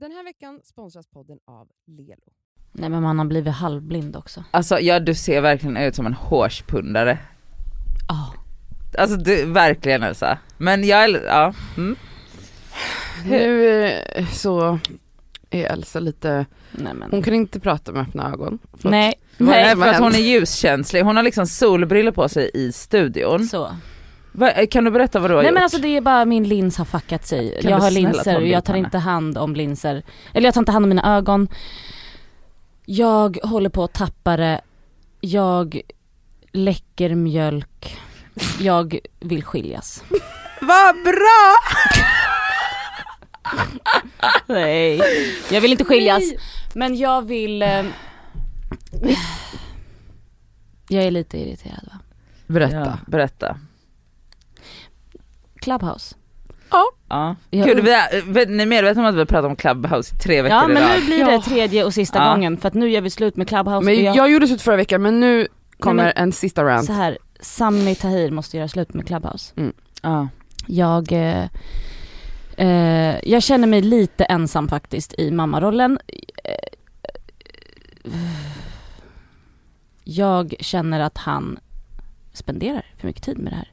Den här veckan sponsras podden av Lelo. Nej men man har blivit halvblind också. Alltså ja du ser verkligen ut som en hårspundare. Ja. Alltså du, verkligen Elsa. Men jag, ja. Mm. Nu eh, så är Elsa lite, Nej men. hon kan inte prata med öppna ögon. Förlåt. Nej. Vad är Nej det för som att har hon är hänt? ljuskänslig, hon har liksom solbriller på sig i studion. Så. Va, kan du berätta vad du har Nej gjort? men alltså det är bara min lins har fuckat sig. Kan jag du har snälla ta en linser och bild jag på tar henne? inte hand om linser. Eller jag tar inte hand om mina ögon. Jag håller på att tappa det. Jag läcker mjölk. Jag vill skiljas. Vad bra! Nej. Jag vill inte skiljas. Men jag vill... eh, Jag är lite irriterad va? Berätta. Ja, berätta. Clubhouse. Ja. Jag- Gud, vi är, vi- ni är medvetna om att vi har pratat om Clubhouse i tre veckor Ja men i nu blir Ja. det tredje och sista Ja. gången för att nu gör vi slut med Clubhouse. och Men jag- jag gjorde slut förra veckan men nu kommer Nej, en sista rant. så här, Sami Tahir måste göra slut med Clubhouse. Ja. Jag, eh, eh, jag känner mig lite ensam faktiskt i mammarollen. Eh, eh, Jag känner att han spenderar för mycket tid med det här.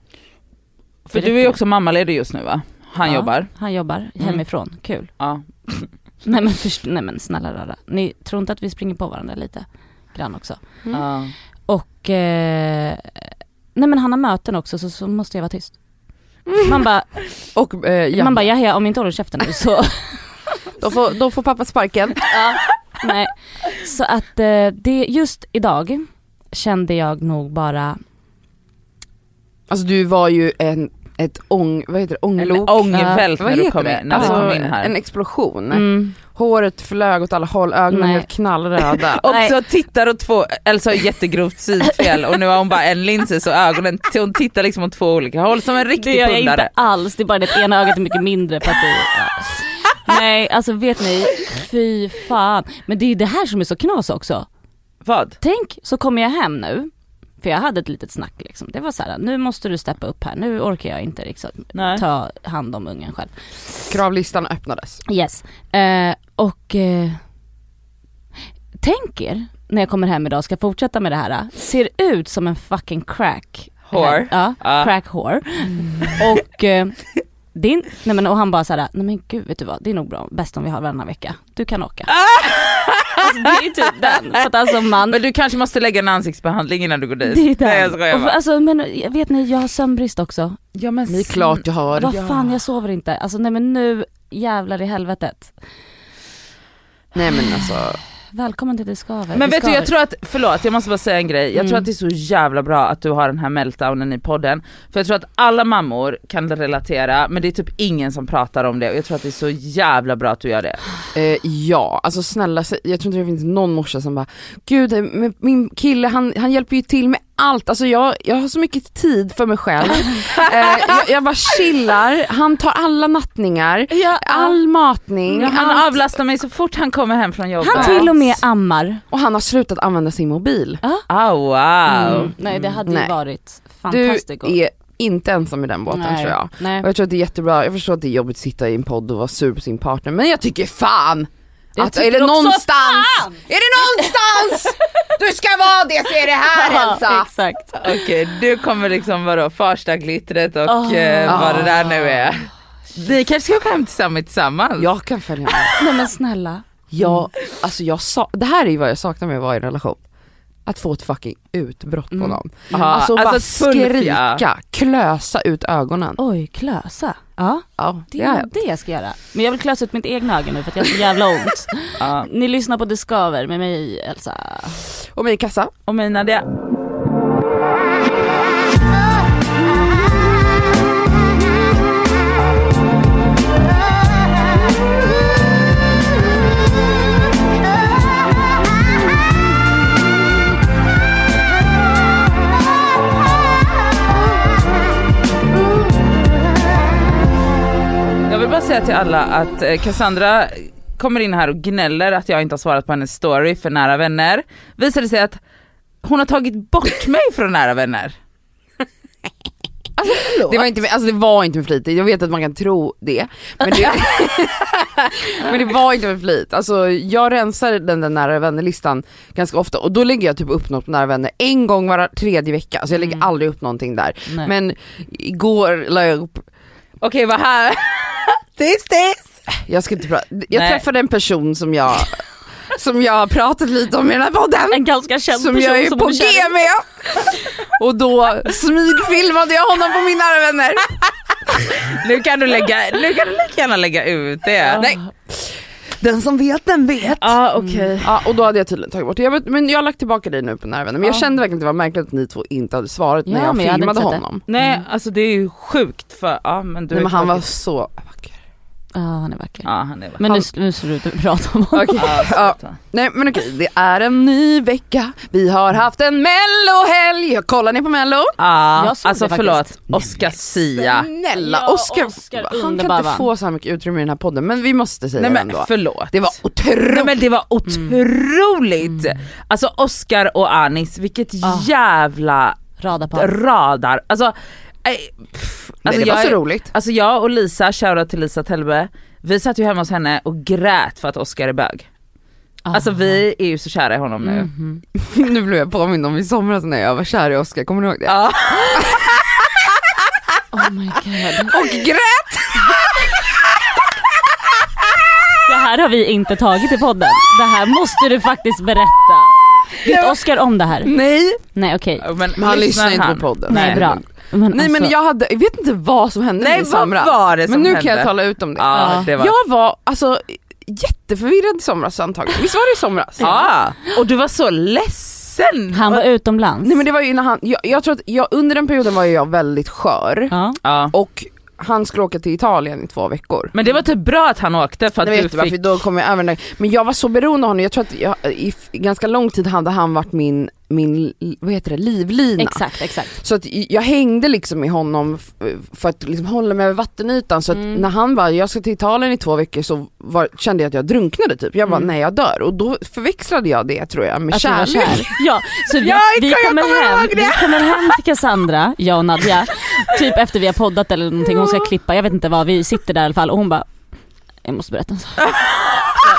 För du är ju också mammaledig just nu va? Han Ja. Mm. jobbar. Han jobbar hemifrån, kul. Ja. Nej men, först, nej men snälla rara, ni tror inte att vi springer på varandra lite grann också? Mm. Ja. Och, eh, nej men han har möten också så, så måste jag vara tyst. Man bara, Och eh, ja. man bara ja, ja, om jag inte håller käften nu så då, får, då får pappa sparken. Nej. Så att eh, det, just idag kände jag nog bara, Alltså du var ju en, ett ång, vad heter det, En ånglok? ångvält Vad när, du heter kom det? in, när alltså, du kom in här. En explosion. mm, Håret flög åt alla håll, ögonen Nej. helt knallröda. Och Nej. så tittar åt två, Elsa har jättegrovt synfel och nu har hon bara en linse så ögonen, så hon tittar liksom åt två olika håll som en det riktig gör jag pundare. inte alls, det är bara det att ena ögat är mycket mindre för att det, ja. Nej alltså vet ni, fy fan. Men det är ju det här som är så knas också. Vad? Tänk så kommer jag hem nu, för jag hade ett litet snack liksom. Det var så här, nu måste du steppa upp här, nu orkar jag inte liksom Nej. ta hand om ungen själv. Kravlistan öppnades. Yes. Eh, och eh, tänk er när jag kommer hem idag ska fortsätta med det här. eh, Ser ut som en fucking crack. Whore. Ja, Ja. crack whore. Och, eh, din, nej men, och han bara såhär, nej men gud vet du vad, det är nog bra, bäst om vi har varannan vecka. Du kan åka. alltså, det är typ den. För att alltså man, Ah! Men du kanske måste lägga en ansiktsbehandling innan du går dit. det är den. Nej jag skojar och, för- bara. alltså, men vet ni, jag har sömnbrist också. Ja men Det är klart jag har. Vad fan jag sover inte. Alltså nej men nu jävlar i helvetet. Nej men alltså. Välkommen till Det skaver. Men Det vet du jag skaver. tror att, förlåt jag måste bara säga en grej, jag tror Mm. att det är så jävla bra att du har den här meltdownen i podden. För jag tror att alla mammor kan relatera men det är typ ingen som pratar om det och jag tror att det är så jävla bra att du gör det. Eh, ja, alltså snälla, sä- jag tror inte det finns någon morsa som bara Gud, eh, men min kille han, han hjälper ju till med allt, alltså jag, jag har så mycket tid för mig själv. Eh, jag, jag bara chillar, han tar alla nattningar, Ja, all matning Han avlastar mig så fort han kommer hem från jobbet. Mm. Han till och med ammar. och han har slutat använda sin mobil. Ah, wow. Mm. Nej det hade Mm. Nej. ju varit Du fantastiskt gott. är inte ensam i den båten Nej. tror jag. Nej. Och jag tror att det är jättebra, jag förstår att det är jobbigt att sitta i en podd och vara sur på sin partner men jag tycker fan Jag att tycker är det också någonstans, fan! är det någonstans du ska vara det så är det här Elsa! exakt. Okej, du kommer liksom vadå, första glittret och Ah. eh, vad det där nu är. Ni kanske ska åka hem tillsammans? tillsammans? Jag kan följa med. Nej men snälla. Jag, alltså jag sa, det här är ju vad jag saknar med att vara i en relation. Att få ett fucking utbrott Mm. på någon. Ja, Alltså, bara ett pulf, ja. skrika, klösa ut ögonen. Oj klösa. Ja Ja, det det är har nog jag. det jag ska göra. Men jag vill klösa ut mitt egna öga nu för att jag har så jävla ont. Ja. Ni lyssnar på Det skaver med mig Elsa. Och min kassa. Och mina det. Jag vill bara säga till alla att eh, Cassandra kommer in här och gnäller att jag inte har svarat på hennes story för nära vänner. Visade sig att hon har tagit bort mig från nära vänner. Alltså förlåt. Det var, inte, alltså det var inte med flit, jag vet att man kan tro det. Men det, men det var inte med flit. Alltså, jag rensar den där nära vänner-listan ganska ofta och då lägger jag typ upp något på nära vänner en gång var tredje vecka. Alltså jag lägger Mm. aldrig upp någonting där. Nej. Men igår la jag upp, Okej vad här? Tyst tyst! jag ska inte prata, jag Nej. träffade en person som jag, som jag har pratat lite om i den här podden. en ganska känd som person jag är som på du känner. G med. Och då smygfilmade jag honom på min nära vänner. Nu kan du lägga, nu kan du lika gärna lägga ut det. Nej. Den som vet den vet. ah, okej. Ja och då hade jag tydligen tagit bort det. Jag vet, men jag har lagt tillbaka dig nu på nära vänner. Men jag Ja. kände verkligen att det var märkligt att ni två inte hade svarat Ja, när jag men jag hade filmade inte sett det. honom. Nej alltså det är ju sjukt för, ja men du Nej, är men han var tråkig. så vacker. Ja han är vacker. Ja han är Men nu, Han- nu slutar vi prata om honom. Ja, Ja. sluta. Nej men okej, det är en ny vecka. Vi har haft en mellohelg. Kollar ni på mello? Ja, Jag såg alltså det faktiskt. förlåt, Oscar Sia. Snälla Ja, Oscar, Oscar han kan underbar, inte va? få så här mycket utrymme i den här podden men vi måste säga Nej det men ändå. förlåt. Det var otroligt. Nej men det Mm. var otroligt! Alltså Oscar och Anis, vilket Ah. jävla Radarpar. radar. Alltså, eh, pff, Ah. Nej, alltså det var jag, så roligt. Alltså jag och Lisa, shoutout till Lisa Telbe, vi satt ju hemma hos henne och grät för att Oscar är bög. Ah. Alltså vi är ju så kära i honom nu. Mhm. Nu blev jag påmind om i somras när jag var kär i Oscar, kommer du ihåg det? Ja. Oh my god. Och grät! Det här har vi inte tagit i podden. Det här måste du faktiskt berätta. Vet Oscar om det här? Nej, Nej okej. Men, men han lyssnar inte på podden. Nej bra. Men, Nej men alltså, jag hade, jag vet inte vad som hände Nej, mig i vad somras. var det som men nu kan hände? jag tala ut om det. Ja, Ja. det var... Jag var alltså jätteförvirrad i somras antagligen, visst var det i somras? Ja. Och du var så ledsen! Han var utomlands. Nej men det var ju när han, jag, jag tror att jag, under den perioden var ju jag väldigt skör Ja. ja. och han skulle åka till Italien i två veckor. Men det var typ bra att han åkte för att Jag vet du inte varför, fick... då kom jag över den där. Men jag var så beroende av honom, jag tror att jag, i f- ganska lång tid hade han varit min, min li- vad heter det, livlina. Exakt, exakt. Så att jag hängde liksom med honom f- för att liksom hålla mig över vattenytan så att Mm. när han bara jag ska till Italien i två veckor så var, kände jag att jag drunknade typ. Jag bara Mm. nej jag dör och då förväxlade jag det tror jag med Att du Alltså, var kärlek. kär. Ja, så vi, Ja, vi, jag kommer kommer hem, ihåg det. vi kommer hem till Cassandra, jag och Nadja, typ efter vi har poddat eller någonting, hon ska klippa, jag vet inte vad, vi sitter där i alla fall och hon bara Jag måste berätta en sak.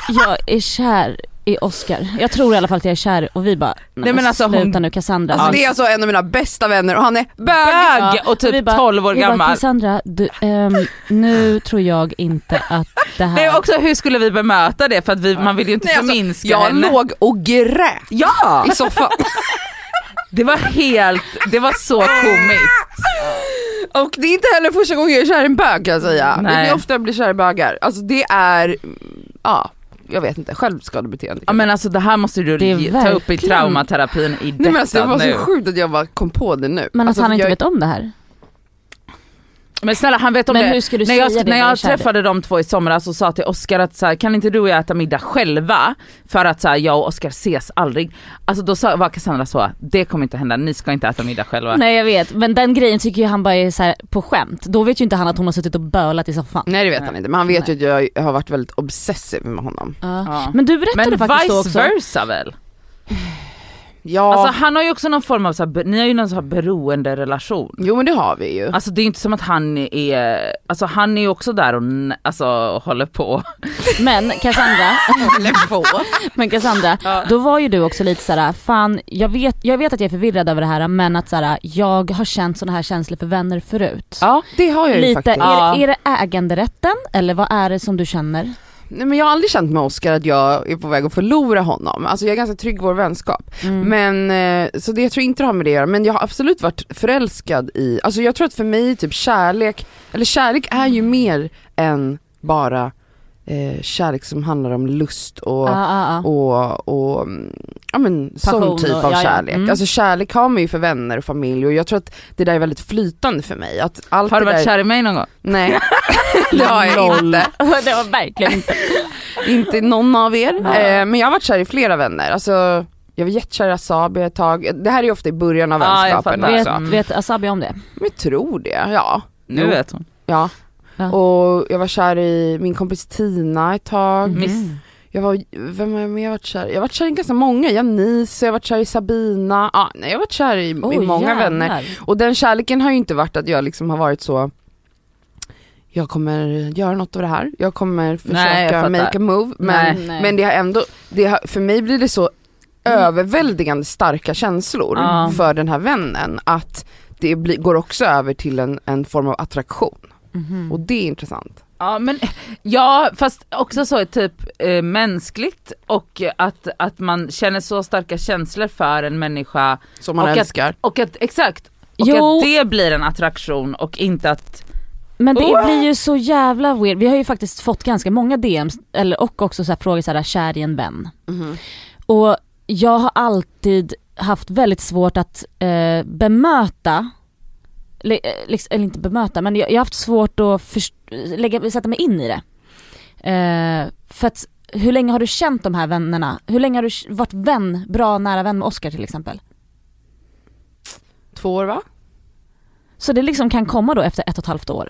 Jag, jag är kär i Oscar. Jag tror i alla fall att jag är kär och vi bara Nej men alltså sluta hon- nu Cassandra. Alltså Vi- det är alltså en av mina bästa vänner och han är bög! Bög! Ja, Och vi typ bara- 12 år vi bara, gammal. Cassandra, du, ehm, nu tror jag inte att det här... Nej också hur skulle vi bemöta det för att vi, man vill ju inte Nej, alltså, förminska jag henne. låg och grät Ja! i soffan. Det var helt, det var så komiskt. och det är inte heller första gången jag är kär i en bög kan jag säga. Nej. Det är ofta jag blir kär i bögar. Alltså det är, ja jag vet inte, självskadebeteende. Ja men alltså det här måste du Det är ge- ta upp i verkligen- traumaterapin i detta Nej men alltså det var nu. så sjukt att jag bara kom på det nu. men att Alltså, han inte jag, vet om det här. Men snälla han vet om Men det. hur ska du när jag, säga det när när du är jag kär i dig? träffade de två i somras och sa till Oskar att så här, kan inte du och jag äta middag själva? För att så här, jag och Oskar ses aldrig. Alltså då sa, var Cassandra så, det kommer inte hända, ni ska inte äta middag själva. Nej jag vet, men den grejen tycker ju han bara är så här på skämt. Då vet ju inte han att hon har suttit och bölat i soffan. Nej det vet han inte, men han vet ju att jag har varit väldigt obsessiv med honom. Ja. Ja. Men du berättade Men faktiskt då vice också. versa väl? Ja, Alltså han har ju också någon form av, så här, be- ni har ju någon sån här beroende relation. jo men det har vi ju. Alltså det är ju inte som att han är, alltså han är ju också där och n- alltså, håller på. Men Cassandra, Eller på. men Cassandra Ja. då var ju du också lite såhär, fan jag vet, jag vet att jag är förvirrad över det här men att såhär, jag har känt sådana här känslor för vänner förut. ja det har jag ju Lite, faktiskt. är, Ja. det- är det äganderätten eller vad är det som du känner? Nej, men jag har aldrig känt med Oscar att jag är på väg att förlora honom. Alltså jag är ganska trygg i vår vänskap. Mm. Men, eh, så det jag tror inte det har med det att göra, men jag har absolut varit förälskad i, alltså jag tror att för mig typ kärlek, eller kärlek är ju mer än bara eh, kärlek som handlar om lust och Ah, ah, ah. och, och mm, ja, men, Passion sån typ och- av ja, ja. kärlek. Mm. Alltså kärlek har man ju för vänner och familj och jag tror att det där är väldigt flytande för mig. Att allt Har du det varit där, kär i mig någon gång? Nej, det har jag inte. det var verkligen inte. Inte någon av er. Eh, men jag har varit kär i flera vänner. Alltså, jag var jättekär i Asabi ett tag. Det här är ju ofta i början av Ja, jag vänskapen fattar. också. Vet, vet Asabi om det? Men jag tror det, ja. Nu Jo. vet hon. ja. Ja. Mm. Och jag var kär i min kompis Tina ett tag. Mm. Miss Jag var, vem har jag mer varit kär i? Jag har varit kär i ganska många, Janice, jag har varit kär i Sabina, ja, nej, jag har varit kär i, i Oj, många jävlar. vänner. Och den kärleken har ju inte varit att jag liksom har varit så jag kommer göra något av det här, jag kommer Nej, jag försöka fattar. make a move. Men, Nej. Mm. Nej. men det har ändå, det har, för mig blir det så överväldigande starka känslor Ja. för den här vännen att det blir, går också över till en, en form av attraktion. Mhm. Mm. Och det är intressant. Ja men ja fast också så är typ eh, mänskligt och att, att man känner så starka känslor för en människa Som man Och att- älskar. och att exakt, och Jo. att det blir en attraktion och inte att Men det Oh! blir ju så jävla weird. Vi har ju faktiskt fått ganska många DMs eller, och också så här frågor så här, kär i en vän. Och jag har alltid haft väldigt svårt att eh, bemöta, li- eh, liksom, eller inte bemöta men jag, jag har haft svårt att först- lägga, sätta mig in i det. Eh, för att hur länge har du känt de här vännerna? Hur länge har du k- varit vän, bra nära vän med Oscar till exempel? Två år va? Så det liksom kan komma då efter ett och ett halvt år.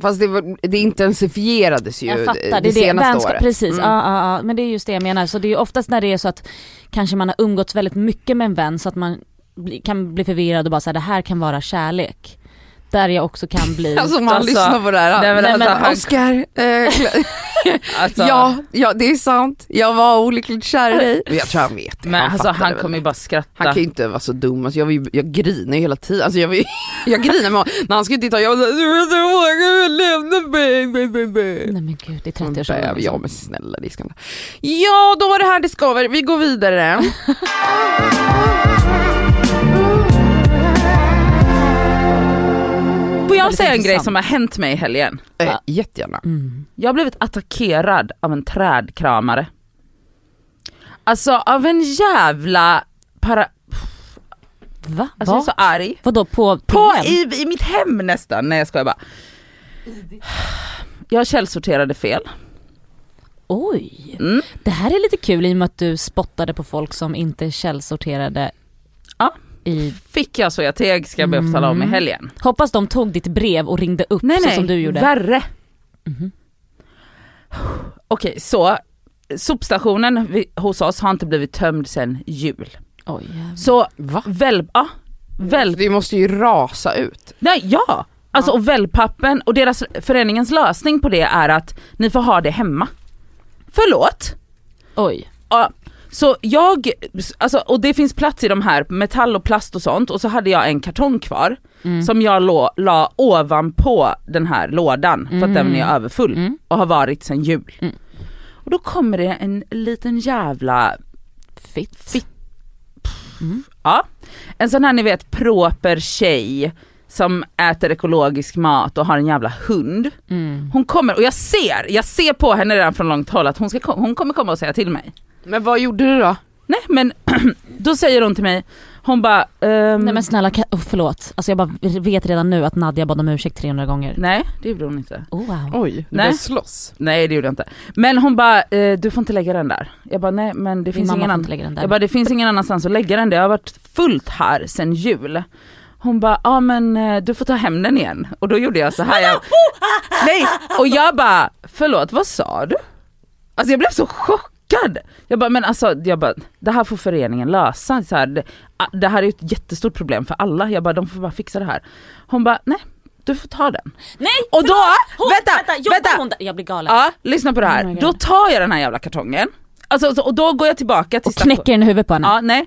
Fast det, var- det intensifierades ju Jag fattar, det, det, är det senaste vänskap, året. Precis, Mm. ja, ja, ja, men det är just det jag menar. Så det är ju oftast när det är så att kanske man har umgåtts väldigt mycket med en vän så att man bli, kan bli förvirrad och bara säga det här kan vara kärlek. Där jag också kan bli, Alltså man Alltså, lyssnar på det här. nej, men Nej, men alltså- Oscar, eh, alltså, Ja, ja det är sant. Jag var olyckligt kär i dig. Men jag tror han vet det. men alltså fattar han det kommer väl. ju bara skratta. han kan ju inte vara så dum, alltså jag, var ju, jag grinar ju hela tiden. Alltså jag, var ju, jag grinar med honom. När han skulle titta, jag var såhär, du vet inte vad jag vill lämna mig, mig, mig, mig. nej men gud det är Men 30 bäv, år Ja men snälla det är skandal. Ja då var det här det skaver, vi går vidare. Får jag Väldigt säga en grej intressant. som har hänt mig i helgen? eh, jättegärna. mm. Jag har blivit attackerad av en trädkramare. Alltså av en jävla para... Va? Alltså jag är Va? så arg. Vadå på, på, På, hem? i, I mitt hem nästan, nej jag skojar bara. Jag källsorterade fel. Oj, Mm. det här är lite kul i och med att du spottade på folk som inte källsorterade Ja. i Fick jag så jag teg ska jag be att få tala om i Mm. helgen. Hoppas de tog ditt brev och ringde upp så som du gjorde. värre. Mhm. Mm-hmm. Okej så, sopstationen vi- hos oss har inte blivit tömd sedan jul. Oj, jävlar. Så Va? välp, ja, välp Det måste ju rasa ut. Nej, ja! Alltså och wellpappen och deras föreningens lösning på det är att ni får ha det hemma. Förlåt? Oj. Ja. Så jag, alltså, och det finns plats i de här, metall och plast och sånt och så hade jag en kartong kvar Mm. som jag lå, la ovanpå den här lådan för att den Mm. är överfull Mm. och har varit sedan jul. Mm. Och då kommer det en liten jävla, Fitt. Fitt. Mm. ja, en sån här ni vet proper tjej som äter ekologisk mat och har en jävla hund. Mm. Hon kommer och jag ser, jag ser på henne redan från långt håll att hon, ska, kom- hon kommer komma och säga till mig. Men vad gjorde du då? Nej men då säger hon till mig, hon bara ehm, Nej men snälla, kan, oh, förlåt. Alltså jag bara vet redan nu att Nadja bad om ursäkt 300 gånger. nej det gjorde hon inte. Oh, wow. Oj, du Nej. började slåss. Nej det gjorde jag inte. Men hon bara eh, du får inte lägga den där. Jag bara nej men det Min finns mamma ingen får annan. inte lägga den där. Jag bara det finns ingen annanstans att lägga den, det har varit fullt här sedan jul. Hon bara ja men eh, du får ta hem den igen. Och då gjorde jag så här. Jag, nej och jag bara förlåt vad sa du? Alltså jag blev så chockad. Jag bara men alltså jag bara, det här får föreningen lösa. Så här, det, a- det här är ju ett jättestort problem för alla. Jag bara de får bara fixa det här. Hon bara nej du får ta den. Nej! Och då, Hon, vänta, jobbar vänta. Hon där? Jag blir galen. Ja, lyssna på det här. Oh my God. då tar jag den här jävla kartongen, alltså, så- och då går jag tillbaka till och knäcker den i huvudet på henne. Ja, nej.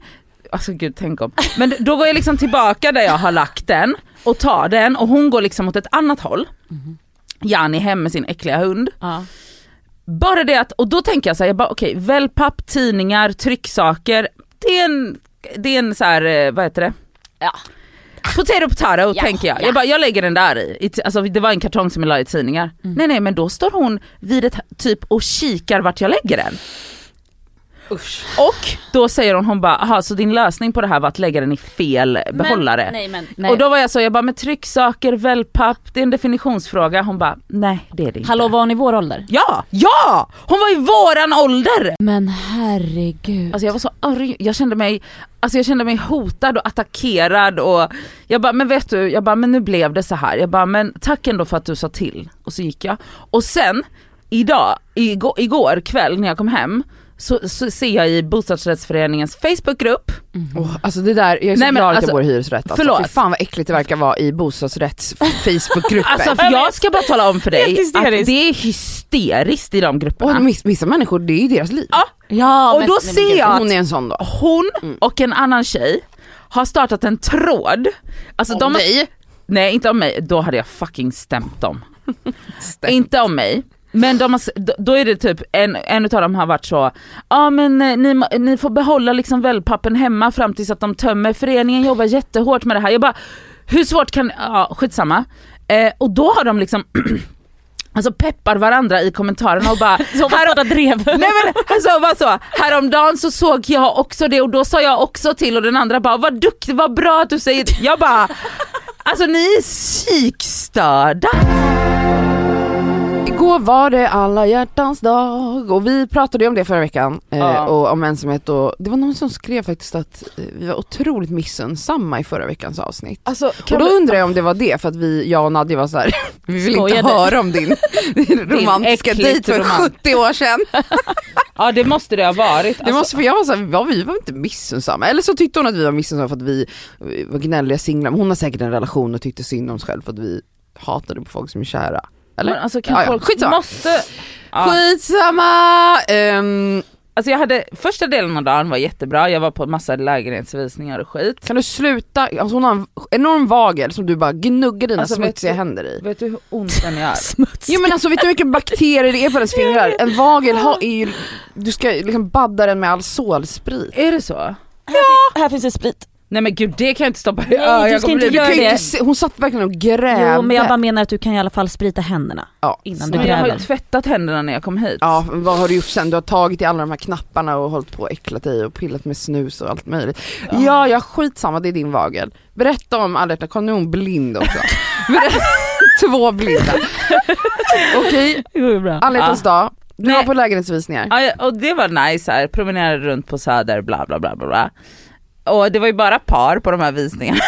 Alltså gud tänk om. Men då går jag liksom tillbaka där jag har lagt den och tar den och hon går liksom åt ett annat håll. Mhm. Jani hem med sin äckliga hund. Ja. Bara det att, och då tänker jag så här, jag bara okej, wellpapp, tidningar, trycksaker. Det är en, det är en så här, eh, vad heter det? Ja. Potato potato Ja, tänker jag. ja. Jag bara, jag lägger den där i. i. t- Alltså det var en kartong som jag la i tidningar. Mm. Nej nej men då står hon vid ett typ och kikar vart jag lägger den. Usch. Och då säger hon, hon bara, aha så din lösning på det här var att lägga den i fel behållare. Men, nej men, nej. Och då var jag så, jag bara med trycksaker, wellpapp, det är en definitionsfråga. Hon bara, nej det är det inte. Hallå var hon i vår ålder? Ja! Ja! Hon var i våran ålder! Men herregud. Alltså jag var så arg, jag kände mig, alltså jag kände mig hotad och attackerad och jag bara men vet du, jag bara men nu blev det så här. Jag bara men tack ändå för att du sa till och så gick jag. Och sen idag, igår, igår kväll när jag kom hem så, så ser jag i bostadsrättsföreningens Facebookgrupp, Åh, alltså det där, jag är så Mhm. Nej, men glad att alltså, jag bor i hyresrätt alltså. förlåt. Fy fan vad äckligt det verkar vara i bostadsrätts Facebookgrupper. alltså för Jag jag vet. ska bara tala om för Helt dig att hysteriskt. det är hysteriskt i de och grupperna. miss- vissa människor, det är ju deras liv. Ja, Ja, och men- då nej, men ser gud. jag att Hon är en sån då. hon och en annan tjej har startat en tråd. Alltså Om de har, dig? nej inte om mig, då hade jag fucking stämt dem. Inte om mig. Men de har, s- d- då är det typ, en, en utav dem har varit så, ja men eh, ni, må- ni får behålla liksom wellpappen hemma fram tills att de tömmer, föreningen jobbar jättehårt med det här. Jag bara, hur svårt kan, ja skitsamma. Eh, och då har de liksom, alltså peppar varandra i kommentarerna och bara, Så här drev. Nej men alltså bara så, häromdagen så såg jag också det och då sa jag också till och den andra bara vad duktig, vad bra att du säger det." Jag bara, alltså ni är psykstörda. Igår var det alla hjärtans dag och vi pratade ju om det förra veckan eh, Ja. och om ensamhet och det var någon som skrev faktiskt att eh, vi var otroligt missunnsamma i förra veckans avsnitt. Alltså, och då undrar jag om det var det för att vi, jag och Nadja var såhär, vi vill inte Skojade. höra om din, din romantiska äckligt dejt Alltså. för romant. 70 år sedan. ja det måste det ha varit. Det måste, för jag var såhär, ja, vi var inte missunnsamma. Eller så tyckte hon att vi var missunnsamma för att vi eh, var gnälliga singlar, men hon har säkert en relation och tyckte synd om sig själv för att vi hatade på folk som är kära. Eller? Men alltså kan Ja, ja. folk, Skitsamma. måste, ja. Skitsamma! Ehm, alltså jag hade, första delen av dagen var jättebra, jag var på massa lägenhetsvisningar och skit. Kan du sluta? Alltså hon har en enorm vagel som du bara gnuggar dina Alltså, vet smutsiga du- händer i. Vet du hur ont den gör? Smuts. Jo men alltså vet du hur mycket bakterier det är på hennes fingrar? En vagel har, är ju, du ska liksom badda den med alsolsprit. Är det så? Här finns det sprit. Nej men gud det kan jag inte stoppa Nej, Ja, du jag ska kommer inte bli- Du kan ju det. inte se, hon satt verkligen och Äh, grävde. Jo men jag bara menar att du kan i alla fall sprita händerna ja. innan du Men jag har ju gräver. tvättat händerna när jag kom hit. ja, vad har du gjort sen? Du har tagit i alla de här knapparna och hållit på och äcklat dig och pillat med snus och allt möjligt. Ja, ja, skitsamma det är din vagel. Berätta om alla detta, kom nu är hon blind också. Berätta, två blinda. Okej, Jo, bra. alla hjärtans dag. Du Nej. var på lägenhetsvisningar. Ja, ja, och det var nice här, promenerade runt på Söder, bla bla bla bla. bla. Och det var ju bara par på de här visningarna.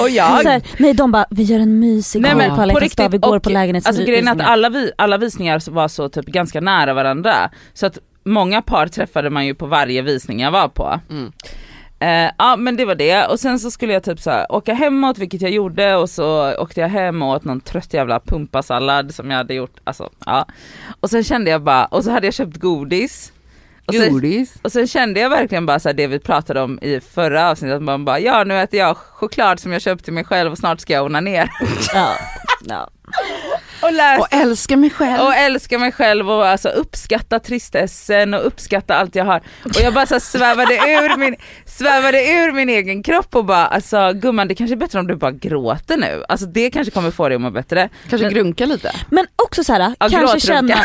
och jag. Så här, nej de bara, vi gör en mysig Nej, Nej, men på alla på hjärtans dag, vi riktigt, går och- på liksom- Alltså grejen är att lägenhetsvisningar. alla, vi, alla visningar var så typ ganska nära varandra. Så att många par träffade man ju på varje visning jag var på. Mm. Eh, ja men det var det och sen så skulle jag typ så här, åka hemåt vilket jag gjorde och så åkte jag hem och åt någon trött jävla pumpasallad som jag hade gjort. Alltså, ja. Och sen kände jag bara, och så hade jag köpt godis. Och sen, Godis. Och sen kände jag verkligen bara så här det vi pratade om i förra avsnittet, att man bara ja nu äter jag choklad som jag köpte till mig själv och snart ska jag onanera. Ja, ja. Och läs Och älska mig själv. och älska mig själv och alltså uppskatta tristessen och uppskatta allt jag har. Och jag bara så här svävade, ur min, svävade ur min egen kropp och bara alltså gumman det kanske är bättre om du bara gråter nu. Alltså det kanske kommer få dig att må bättre. Kanske Men- grunka lite. Men också så här, Ja, kanske gråtrunka. känna,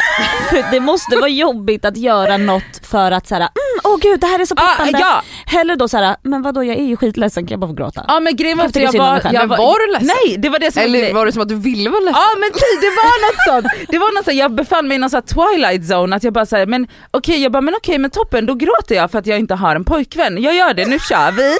för det måste vara jobbigt att göra något för att så här, mm, åh gud det här är så Ah, peppande. ja, Hellre då så här, men vadå jag är ju skitledsen kan jag bara få gråta? ja men grejen var att Tycker jag synd om var, dig själv. jag Men var du ledsen? Nej det var det som Eller var det som att du ville vara ledsen? Ja men ty, det var något sånt. Det var något sånt. Jag befann mig i någon sån här twilight zone att jag bara säger men okej jag bara men okej men toppen då gråter jag för att jag inte har en pojkvän. Jag gör det, nu kör vi.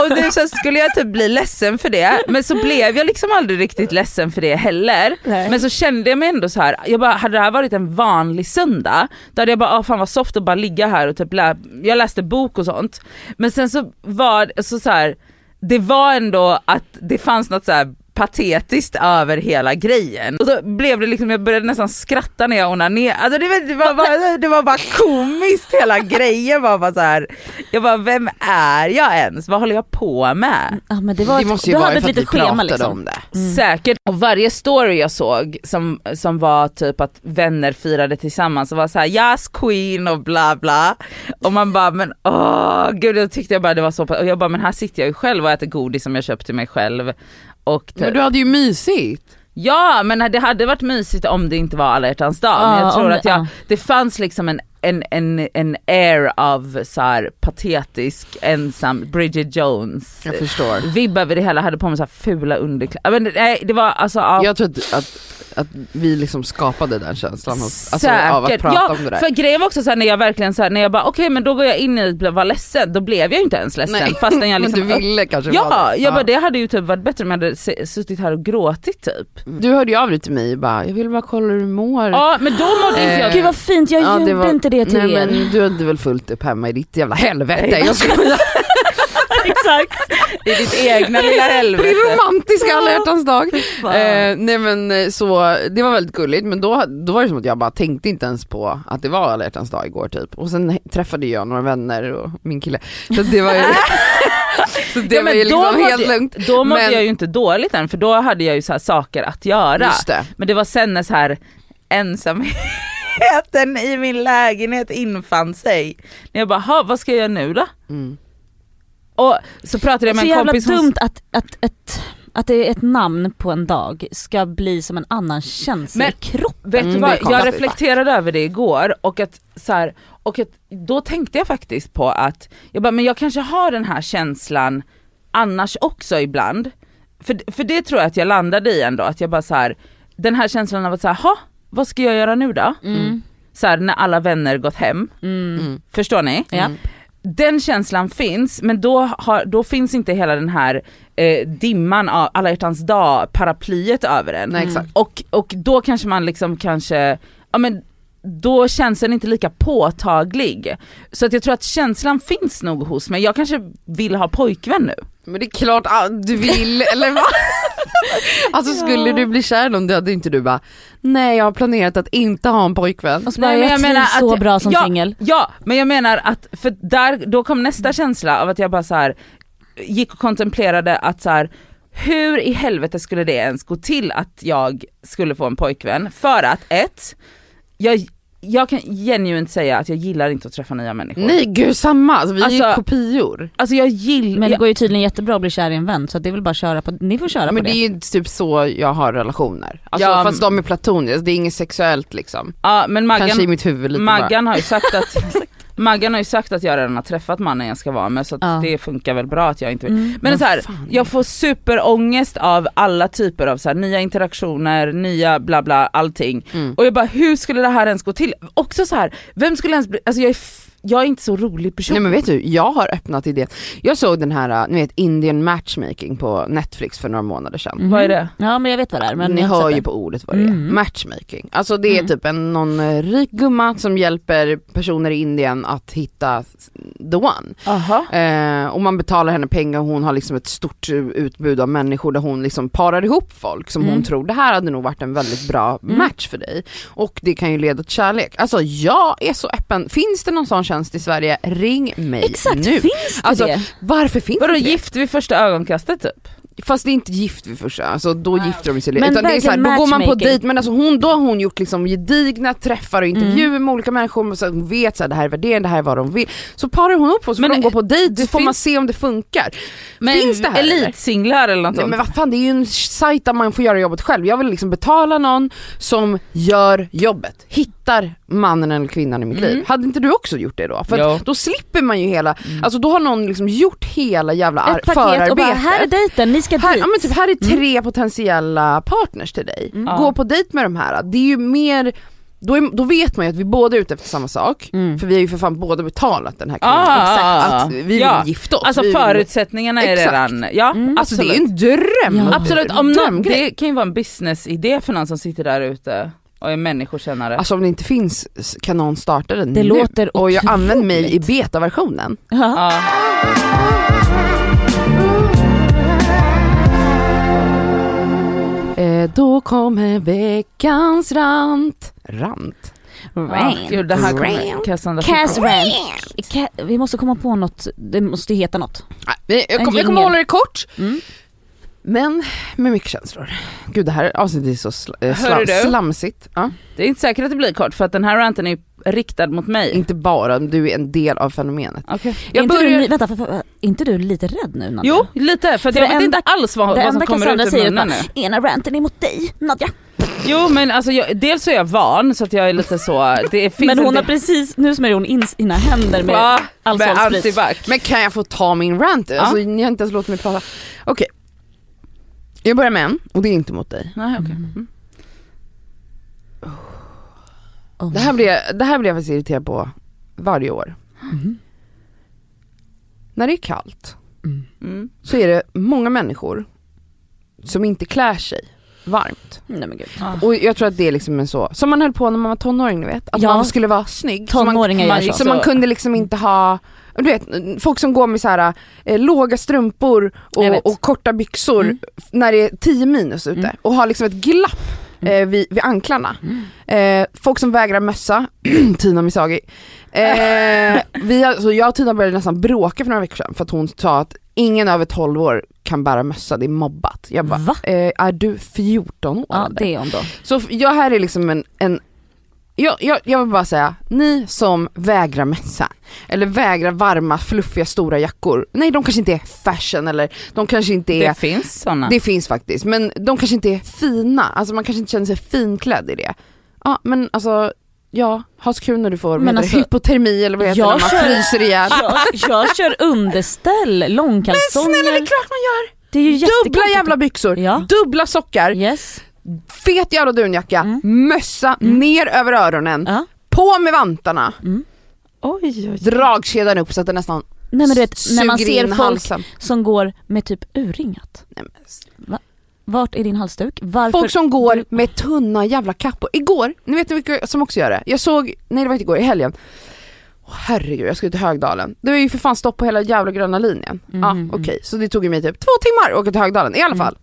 Och nu så skulle jag typ bli ledsen för det men så blev jag liksom aldrig riktigt ledsen för det heller. Nej. Men så kände jag mig ändå så här. jag bara hade det här varit en vanlig söndag då hade jag bara ah, fan vad soft att bara ligga här och typ lä- jag läste bok och sånt. Men sen så var så, så här det var ändå att det fanns något så här patetiskt över hela grejen. Och då blev det liksom, jag började nästan skratta när jag onanerade. Alltså det, var- det, var bara, det var bara komiskt hela grejen var bara så här. Jag bara, vem är jag ens? Vad håller jag på med? Ja, men det var ett, du hade ett litet schema liksom. om det. Säkert. Och varje story jag såg som, som var typ att vänner firade tillsammans och var så här yes queen och bla bla. Och man bara men åh gud jag tyckte jag bara det var så pa- och jag bara men här sitter jag ju själv och äter godis som jag köpt till mig själv. Och typ, Men du hade ju mysigt. Ja men det hade varit mysigt om det inte var alla hjärtans dag men Ja, jag tror om- att jag, ja. det fanns liksom en en, en, en air av så här patetisk, ensam Bridget Jones förstår. vibb över det hela, hade på mig så här fula underkläder. Men, nej, det var alltså, ja. Jag tror att, att att vi liksom skapade den känslan hos, alltså, Säkert. av att prata ja, om det där. För grejen var också såhär när jag verkligen såhär, när jag bara okej men då går jag in i att bli- vara ledsen, då blev jag ju inte ens ledsen Nej. fastän jag liksom Men du ville kanske vara Ja, det. jag bara det hade ju typ varit bättre om jag hade se- suttit här och gråtit typ. Du hörde ju av dig till mig bara, jag vill bara kolla hur du mår. Ja men då mådde inte jag... Eh, Gud vad fint, jag Ja, gjorde var- inte det till Nej, er. men du hade väl fullt upp hemma i ditt jävla helvete. Jag skojar. Exakt. I ditt egna lilla Det helvete. är romantisk alla hjärtans dag. fan. Eh, nej men eh, så, det var väldigt gulligt men då, då var det som att jag bara tänkte inte ens på att det var alla hjärtans dag igår typ. Och sen träffade jag några vänner och min kille. Så det var ju, så det Ja, var men ju då liksom mådde helt jag- lugnt. Då mådde Men- jag ju inte dåligt än för då hade jag ju så här saker att göra. Just det. Men det var sen när så här ensamheten i min lägenhet infann sig. När jag bara, "Ha, vad ska jag göra nu då? Mm. Och så pratade jag Så med en jävla kompis som- dumt att, att, att, att det är ett namn på en dag ska bli som en annan känsla Men- i kroppen. Vet Mm, du det vad, är jag konstigt. reflekterade över det igår och att så här, och att, då tänkte jag faktiskt på att jag bara, men jag kanske har den här känslan annars också ibland. För, för det tror jag att jag landade i ändå, att jag bara så här, den här känslan av att så här, ha, vad ska jag göra nu då? Mm. Så här, när alla vänner gått hem, Mm. Mm. förstår ni? Ja. Den känslan finns, men då, har, då finns inte hela den här eh, dimman av alla hjärtans dag, paraplyet över en. Nej exakt. Och, och då kanske man liksom kanske, ja men då känns den inte lika påtaglig. Så att jag tror att känslan finns nog hos mig. Jag kanske vill ha pojkvän nu. Men det är klart att du vill, eller vad? Alltså skulle du bli kär i någon då hade inte du bara, nej jag har planerat att inte ha en pojkvän. Och så bara, Nej, men jag, jag trivs menar att så jag- bra som ja. singel. Ja, men jag menar att, för där, då kom nästa känsla av att jag bara så här gick och kontemplerade att så här hur i helvete skulle det ens gå till att jag skulle få en pojkvän? För att ett, jag, jag kan genuint säga att jag gillar inte att träffa nya människor. Nej gud samma, alltså, vi är ju Alltså- kopior. Alltså jag gillar, Men det jag, går ju tydligen jättebra att bli kär i en vän så det är väl bara att köra på, ni får köra Men på det det. är ju typ så jag har relationer. Alltså, Ja, fast de är platoniska, alltså, det är inget sexuellt liksom. ja, men Maggan, Kanske i mitt huvud lite bara. Maggan har ju sagt att Maggan har ju sagt att jag redan har träffat mannen jag ska vara med så att Ja. det funkar väl bra att jag inte vill. Mm. Men så här, fan. jag får superångest av alla typer av så här, nya interaktioner, nya bla bla allting. Mm. Och jag bara hur skulle det här ens gå till? Också så här, vem skulle ens bli, alltså jag är, f- jag är inte så rolig person. Nej men vet du, jag har öppnat idén. Jag såg den här, äh, ni vet Indian matchmaking på Netflix för några månader sedan. Mhm. Vad är det? Ja men jag vet vad det är. Men Ni jag har inte hör sett ju det. på ordet vad det är. Mm. Matchmaking. Alltså det är Mm. typ en, någon eh, rik gumma som hjälper personer i Indien att hitta s- the one. Aha. Eh, och man betalar henne pengar och hon har liksom ett stort eh, utbud av människor där hon liksom parar ihop folk som hon Mm. tror, det här hade nog varit en väldigt bra Mm. match för dig. Och det kan ju leda till kärlek. Alltså jag är så öppen, finns det någon sån tjänst i Sverige, ring mig Exakt, nu. finns det Alltså, det? Varför finns Vadå det? gift vid första ögonkastet typ? Fast det är inte gift vid första, alltså då gifter de sig. Men Utan det är så här, då verkligen går man på matchmaking. dejt, men alltså hon, då har hon gjort liksom gedigna träffar och intervjuer Mm. med olika människor, och så här, hon vet att det här är värderingen, det här är vad de vill. Så parar hon upp och så får de Men gå på dejt, så det får man finns- se om det funkar. Men finns det här eller? Elitsinglar eller något Nej, sånt? men vad fan det är ju en sajt där man får göra jobbet själv. Jag vill liksom betala någon som gör jobbet, hittar mannen eller kvinnan i mitt Mm. liv. Hade inte du också gjort det då? För Jo. att då slipper man ju hela, alltså då har någon liksom gjort hela jävla ar- Mm. Ett paket förarbetet. och bara här är dejten, ni ska Här, dit. ja, men typ, här är tre potentiella partners till dig. Mm. Ja. Gå på dejt med de här. Det är ju mer, då, är, då vet man ju att vi båda är ute efter samma sak. Mm. För vi har ju för fan båda betalat den här kvinnan. Ah, Exakt. ah, Att vi vill ja. gifta oss. Alltså vi vill, förutsättningarna är Exakt. redan, ja Mm. alltså det är ju absolut. en dröm. Ja. Absolut, om någon, Drömgrej. det kan ju vara en businessidé för någon som sitter där ute och är människokännare. Alltså om det inte finns s- kan någon starta den Det nu. låter Och jag använder mig i otroligt. betaversionen. Ja. ja. Eh, då kommer veckans rant. Rant? Ja, Gud, det här kommer Rant. Cassandra Cass Fy- Ranch. Ca- Vi måste komma på något, det måste ju heta något. Nej, vi- Jag, En kom, jag kommer jingle. hålla det kort. Mm. Men med mycket känslor. Gud det här avsnittet är så sl- eh, Hörru slam- du. slamsigt. Ja. Det är inte säkert att det blir kort för att den här ranten är ju riktad mot mig. Inte bara, du är en del av fenomenet. Okej. Är Jag inte, du, börjar... li- vänta, för, för, är inte du lite rädd nu Nadja? Jo, lite för att För jag det vet enda- inte alls vad, det vad som enda kommer Cassandra ut ur säger är munnen nu. bara, ena ranten är mot dig Nadja. Jo men alltså jag, dels så är jag van så att jag är lite så, det finns Men hon en har del- precis, nu smörjer hon in sina händer med Va? med alkoholsprit. antibac. Men kan jag få ta min rant? Alltså, ni har inte ens låtit mig prata. Okej. Jag börjar med en, och det är inte mot dig. Nej, okej. Mm. Oh Det här blir jag, det här blir jag faktiskt irriterad på varje år. Mm. Mhm. När det är kallt Mm. Mm. så är det många människor som inte klär sig varmt. Nej men gud. Och jag tror att det är liksom en så, som man höll på när man var tonåring ni vet, att Ja. man skulle vara snygg. så man- Tonåringar man- gör Så så. Mm. som- man kunde liksom inte ha, du vet folk som går med så här, eh, låga strumpor Jag vet. och, och korta byxor Mm. när det är 10 minus ute Mm. och har liksom ett glapp eh, vid, vid anklarna. Mm. Eh, folk som vägrar mössa, Tina Misagi. Eh, vi, har- så jag och Tina började nästan bråka för några veckor sedan för att hon sa att ingen över 12 år kan bära mössa, det är mobbat. Jag bara, Va? eh, är du 14 år? Ja det är hon då. Så f- jag här är liksom en, en jag, jag, jag vill bara säga, ni som vägrar mössa, eller vägrar varma, fluffiga, stora jackor. Nej de kanske inte är fashion eller de kanske inte Det är, finns sådana. det, finns faktiskt, men de kanske inte är fina. Alltså man kanske inte känner sig finklädd i det. Ja men alltså, ja, ha så kul när du får Men men alltså, hypotermi eller vad heter det jag när man kör- Ah, fryser ihjäl. Jag, jag kör underställ, långkalsonger. Snälla det är klart man gör! Det är ju Dubbla jättekonstigt. jävla byxor, Ja. dubbla sockar, Yes. fet jävla dunjacka, Mm. mössa ner över öronen, Ja. på med vantarna. Oj, oj. dragkedjan upp så att den nästan Nej men du vet när man suger in ser folk halsen. som går med typ urringat. Nej, men s- Vart är din halsduk? Varför? Folk som går du- med tunna jävla kappor. Igår, ni vet vilka som också gör det? Jag såg, nej det var inte igår, i helgen. Åh, herregud, jag skulle till Högdalen. Det var ju för fan stopp på hela jävla gröna linjen. Mhm. Ja, okej, så det tog ju mig typ två timmar att åka till Högdalen i alla Mm. fall.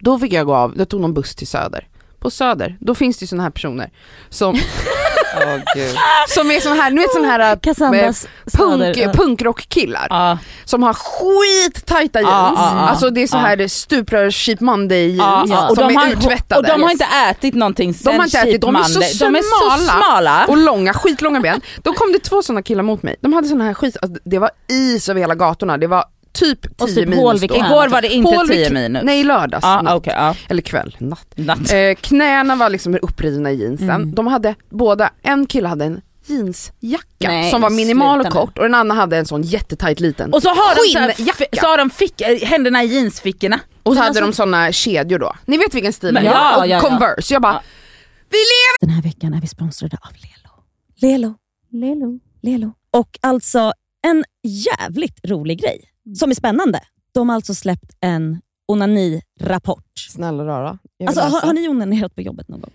Då fick jag gå av, jag tog någon buss till Söder. På Söder, då finns det ju såna här personer som, Åh, gud. som är såna här, ni vet såna här äh, Cassandras punk, söder- punkrockkillar. Ja, som har skittajta jeans, Ja, ja, ja. alltså det är så Ja. här det är stuprör Cheap Monday jeans ja, ja. som är har, uttvättade. och de har inte ätit någonting sen har inte ätit, de är så Chipmande. De är så smala. smala. och långa, skitlånga ben. Då kom det två sådana killar mot mig, de hade såna här skit, alltså, det var is över hela gatorna, det var typ 10 Och typ minus Hålvik- då. Igår var det inte Hålvik- 10 minus. Nej lördags, Ja, natt. Ah, okej. ja. eller kväll, natt. Natt. Eh, knäna var liksom upprivna i jeansen, Mm. de hade båda, en kille hade en jeansjacka Nej, som var men minimal och sluta nu. kort och den andra hade en sån jättetajt liten. Och så har de, så här, Skinnjacka. f- så har de fick, eh, händerna i jeansfickorna. Och så Men hade alltså- de såna kedjor då. Ni vet vilken stil det Men är? ja, och ja, ja. Converse. Jag bara, Ja. vi lever! Den här veckan är vi sponsrade av Lelo. Lelo. Lelo. Lelo. Och alltså en jävligt rolig grej som är spännande. De har alltså släppt en onanirapport. Snälla rara. Jag vill Alltså, har, läsa. har ni onanerat på jobbet någon gång?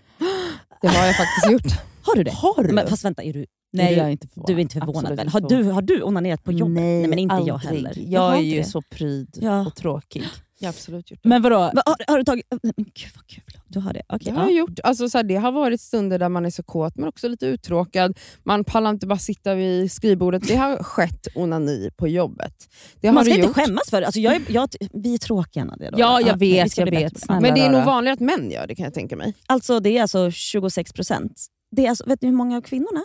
Det har jag faktiskt gjort. Har du det? Har du? Men, fast vänta, är du, Nej, är jag är du, inte förvånad. du är inte förvånad Absolut väl? inte Har du, har du onanerat på jobbet? Nej, men inte jag aldrig. heller. Jag har är inte ju det. så pryd Ja. och tråkig. Jag har absolut gjort det. Men vadå? Va, har, har du tagit... Men gud vad kul. Du har det? Okej. Jag har ja. gjort, alltså så här, det har varit stunder där man är så kåt men också lite uttråkad. Man pallar inte bara sitta vid skrivbordet. Det har skett onani på jobbet. Det har Man ska det inte gjort. skämmas för det. Alltså, jag är, jag, vi är tråkiga Nadia. då. Ja, jag men vi vet, ska jag bli vet. bättre på Snälla. Men det är nog rara. vanligare att män gör det kan jag tänka mig. Alltså det är alltså 26 procent. Det är alltså, vet ni hur många av kvinnorna?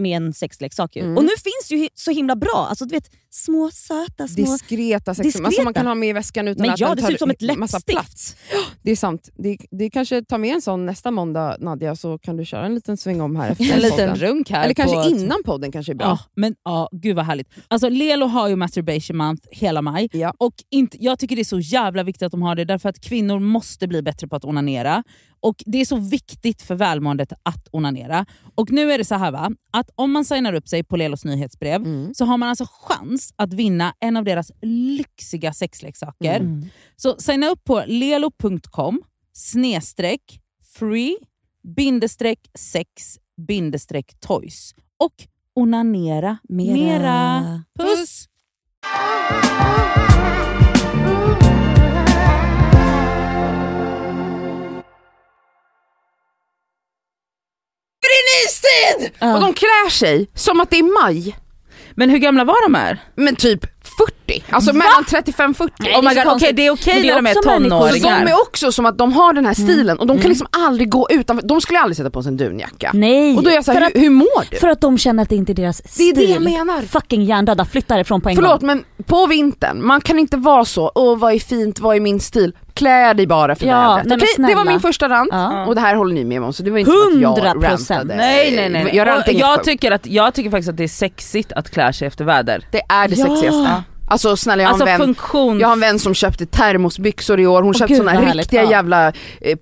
med en sexleksak. Ju. Mm. Och nu finns det ju hi- så himla bra. Alltså, du vet, små söta små... Diskreta sexer Diskreta. alltså man kan ha med i väskan utan men att ja, den det tar ser ut som ett massa läppstift. plats. Det är sant. Det, det kanske tar med en sån nästa måndag Nadja, så kan du köra en liten sväng om här efter En liten podden. runk här. Eller kanske på- innan podden kanske är bra. Ja, men ja, gud vad härligt. Alltså Lelo har ju masturbation month hela maj. Ja. Och inte, jag tycker det är så jävla viktigt att de har det, därför att kvinnor måste bli bättre på att onanera. Och Det är så viktigt för välmåendet att onanera. Och nu är det så här va, att om man signar upp sig på Lelos nyhetsbrev Mm. så har man alltså chans att vinna en av deras lyxiga sexleksaker. Mm. Så signa upp på lelo.com snedstreck free bindestreck sex bindestreck toys och onanera mera. Puss! Och Ja. de klär sig som att det är maj, Men hur gamla var de här? men typ 40. Alltså mellan 35 40. Oh my så god, okej konstigt. det är okej Men det är när de är också människor. Och de tonåringar. är också som att de har den här Mm. stilen och de kan liksom aldrig gå utanför, de skulle aldrig sätta på sig en dunjacka. Nej, Och då är jag såhär, för, att, hur, hur mår du? för att de känner att det inte är deras stil. det är det jag menar. Fucking hjärndöda, flytta härifrån på en Förlåt gång. men på vintern, man kan inte vara så, åh vad är fint, vad är min stil? Klä dig bara för Ja, vädret. nej men Okej, det var snälla. min första rant Ja. och det här håller ni med om så det var inte så att jag 100%. rantade. Nej nej nej. Jag Jag, rantade inget jag, sjukt. tycker att, jag tycker faktiskt att det är sexigt att klä sig efter väder. Det är det sexigaste. Alltså snälla jag har, Alltså en vän, funktions... jag har en vän som köpte termosbyxor i år, hon köpte gud, såna vad riktiga härligt. Ja. jävla eh,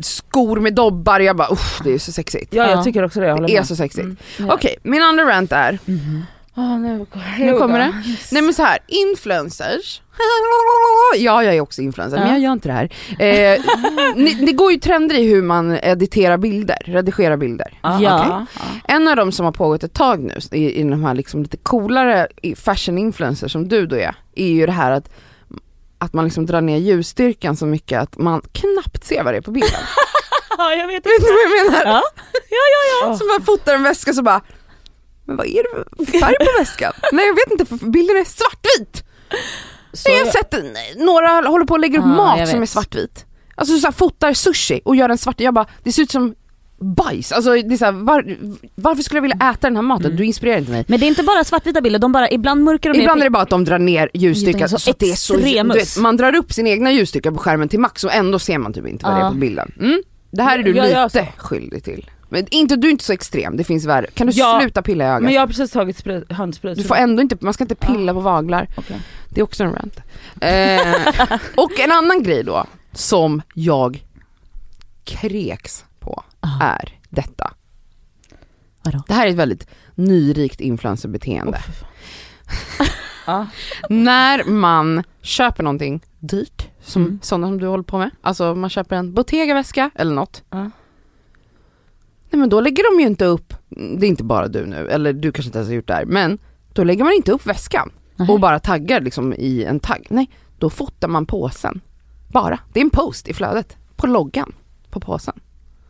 skor med dobbar och jag bara usch det är så sexigt. Ja jag Ja. tycker också det, jag håller Det är med. så sexigt. Mm. Okej, min andra rant är, Ah, Jo nu då. kommer det. Nej men så här, influencers. Ja jag är också influencer men Ja. jag gör inte det här. Eh, ni, det går ju trender i hur man editerar bilder, redigerar bilder. Ja. Ja. Ah, En av dem som har pågått ett tag nu i, i de här liksom lite coolare i- fashion influencers som du då är, är ju det här att, att man liksom drar ner ljusstyrkan så mycket att man knappt ser vad det är på bilden. Ja, jag vet Vet du vad jag menar? Ja. ja, ja. Så man fotar en väska så bara, men vad är det för färg på väskan? Nej jag vet inte för bilden är svartvit. Så jag har jag, sett eh, några håller på och lägger upp Ja, jag mat som är vet. svartvit. Alltså så här, fotar sushi och gör den svart. Jag bara, det ser ut som bajs. Alltså, det är så här, var, varför skulle jag vilja äta den här maten? Mm. Du inspirerar inte mig. Men det är inte bara svartvita bilder, de bara, ibland mörkar de Ibland är ner. det bara att de drar ner ljusstyrkan Det är så, så att det är så extremus. du vet, Man drar upp sin egna ljusstyrka på skärmen till max och ändå ser man typ inte vad det är Ja. på bilden. Mm? Det här är du Jag- jag gör lite skyldig till. Men inte, du är inte så extrem, det finns värre. Kan du Ja, sluta pilla i men ögat? jag har precis tagit sprit, handsprit. Du får ändå inte, man ska inte pilla på vaglar. Okej. Det är också en rant. Eh, och en annan grej då som jag kreks på Ah, är detta. Vadå? Det här är ett väldigt nyrikt influencerbeteende. Åh, fy fan. Ja. När man köper någonting dyrt, som Mm. sådana som du håller på med, alltså man köper en Bottega-väska eller något. Ja. Nej men då lägger de ju inte upp, mm, det är inte bara du nu, eller du kanske inte ens har gjort det här, men då lägger man inte upp väskan Nej. och bara taggar liksom i en tagg. Nej, då fotar man påsen. Bara. Det är en post i flödet, på loggan på påsen.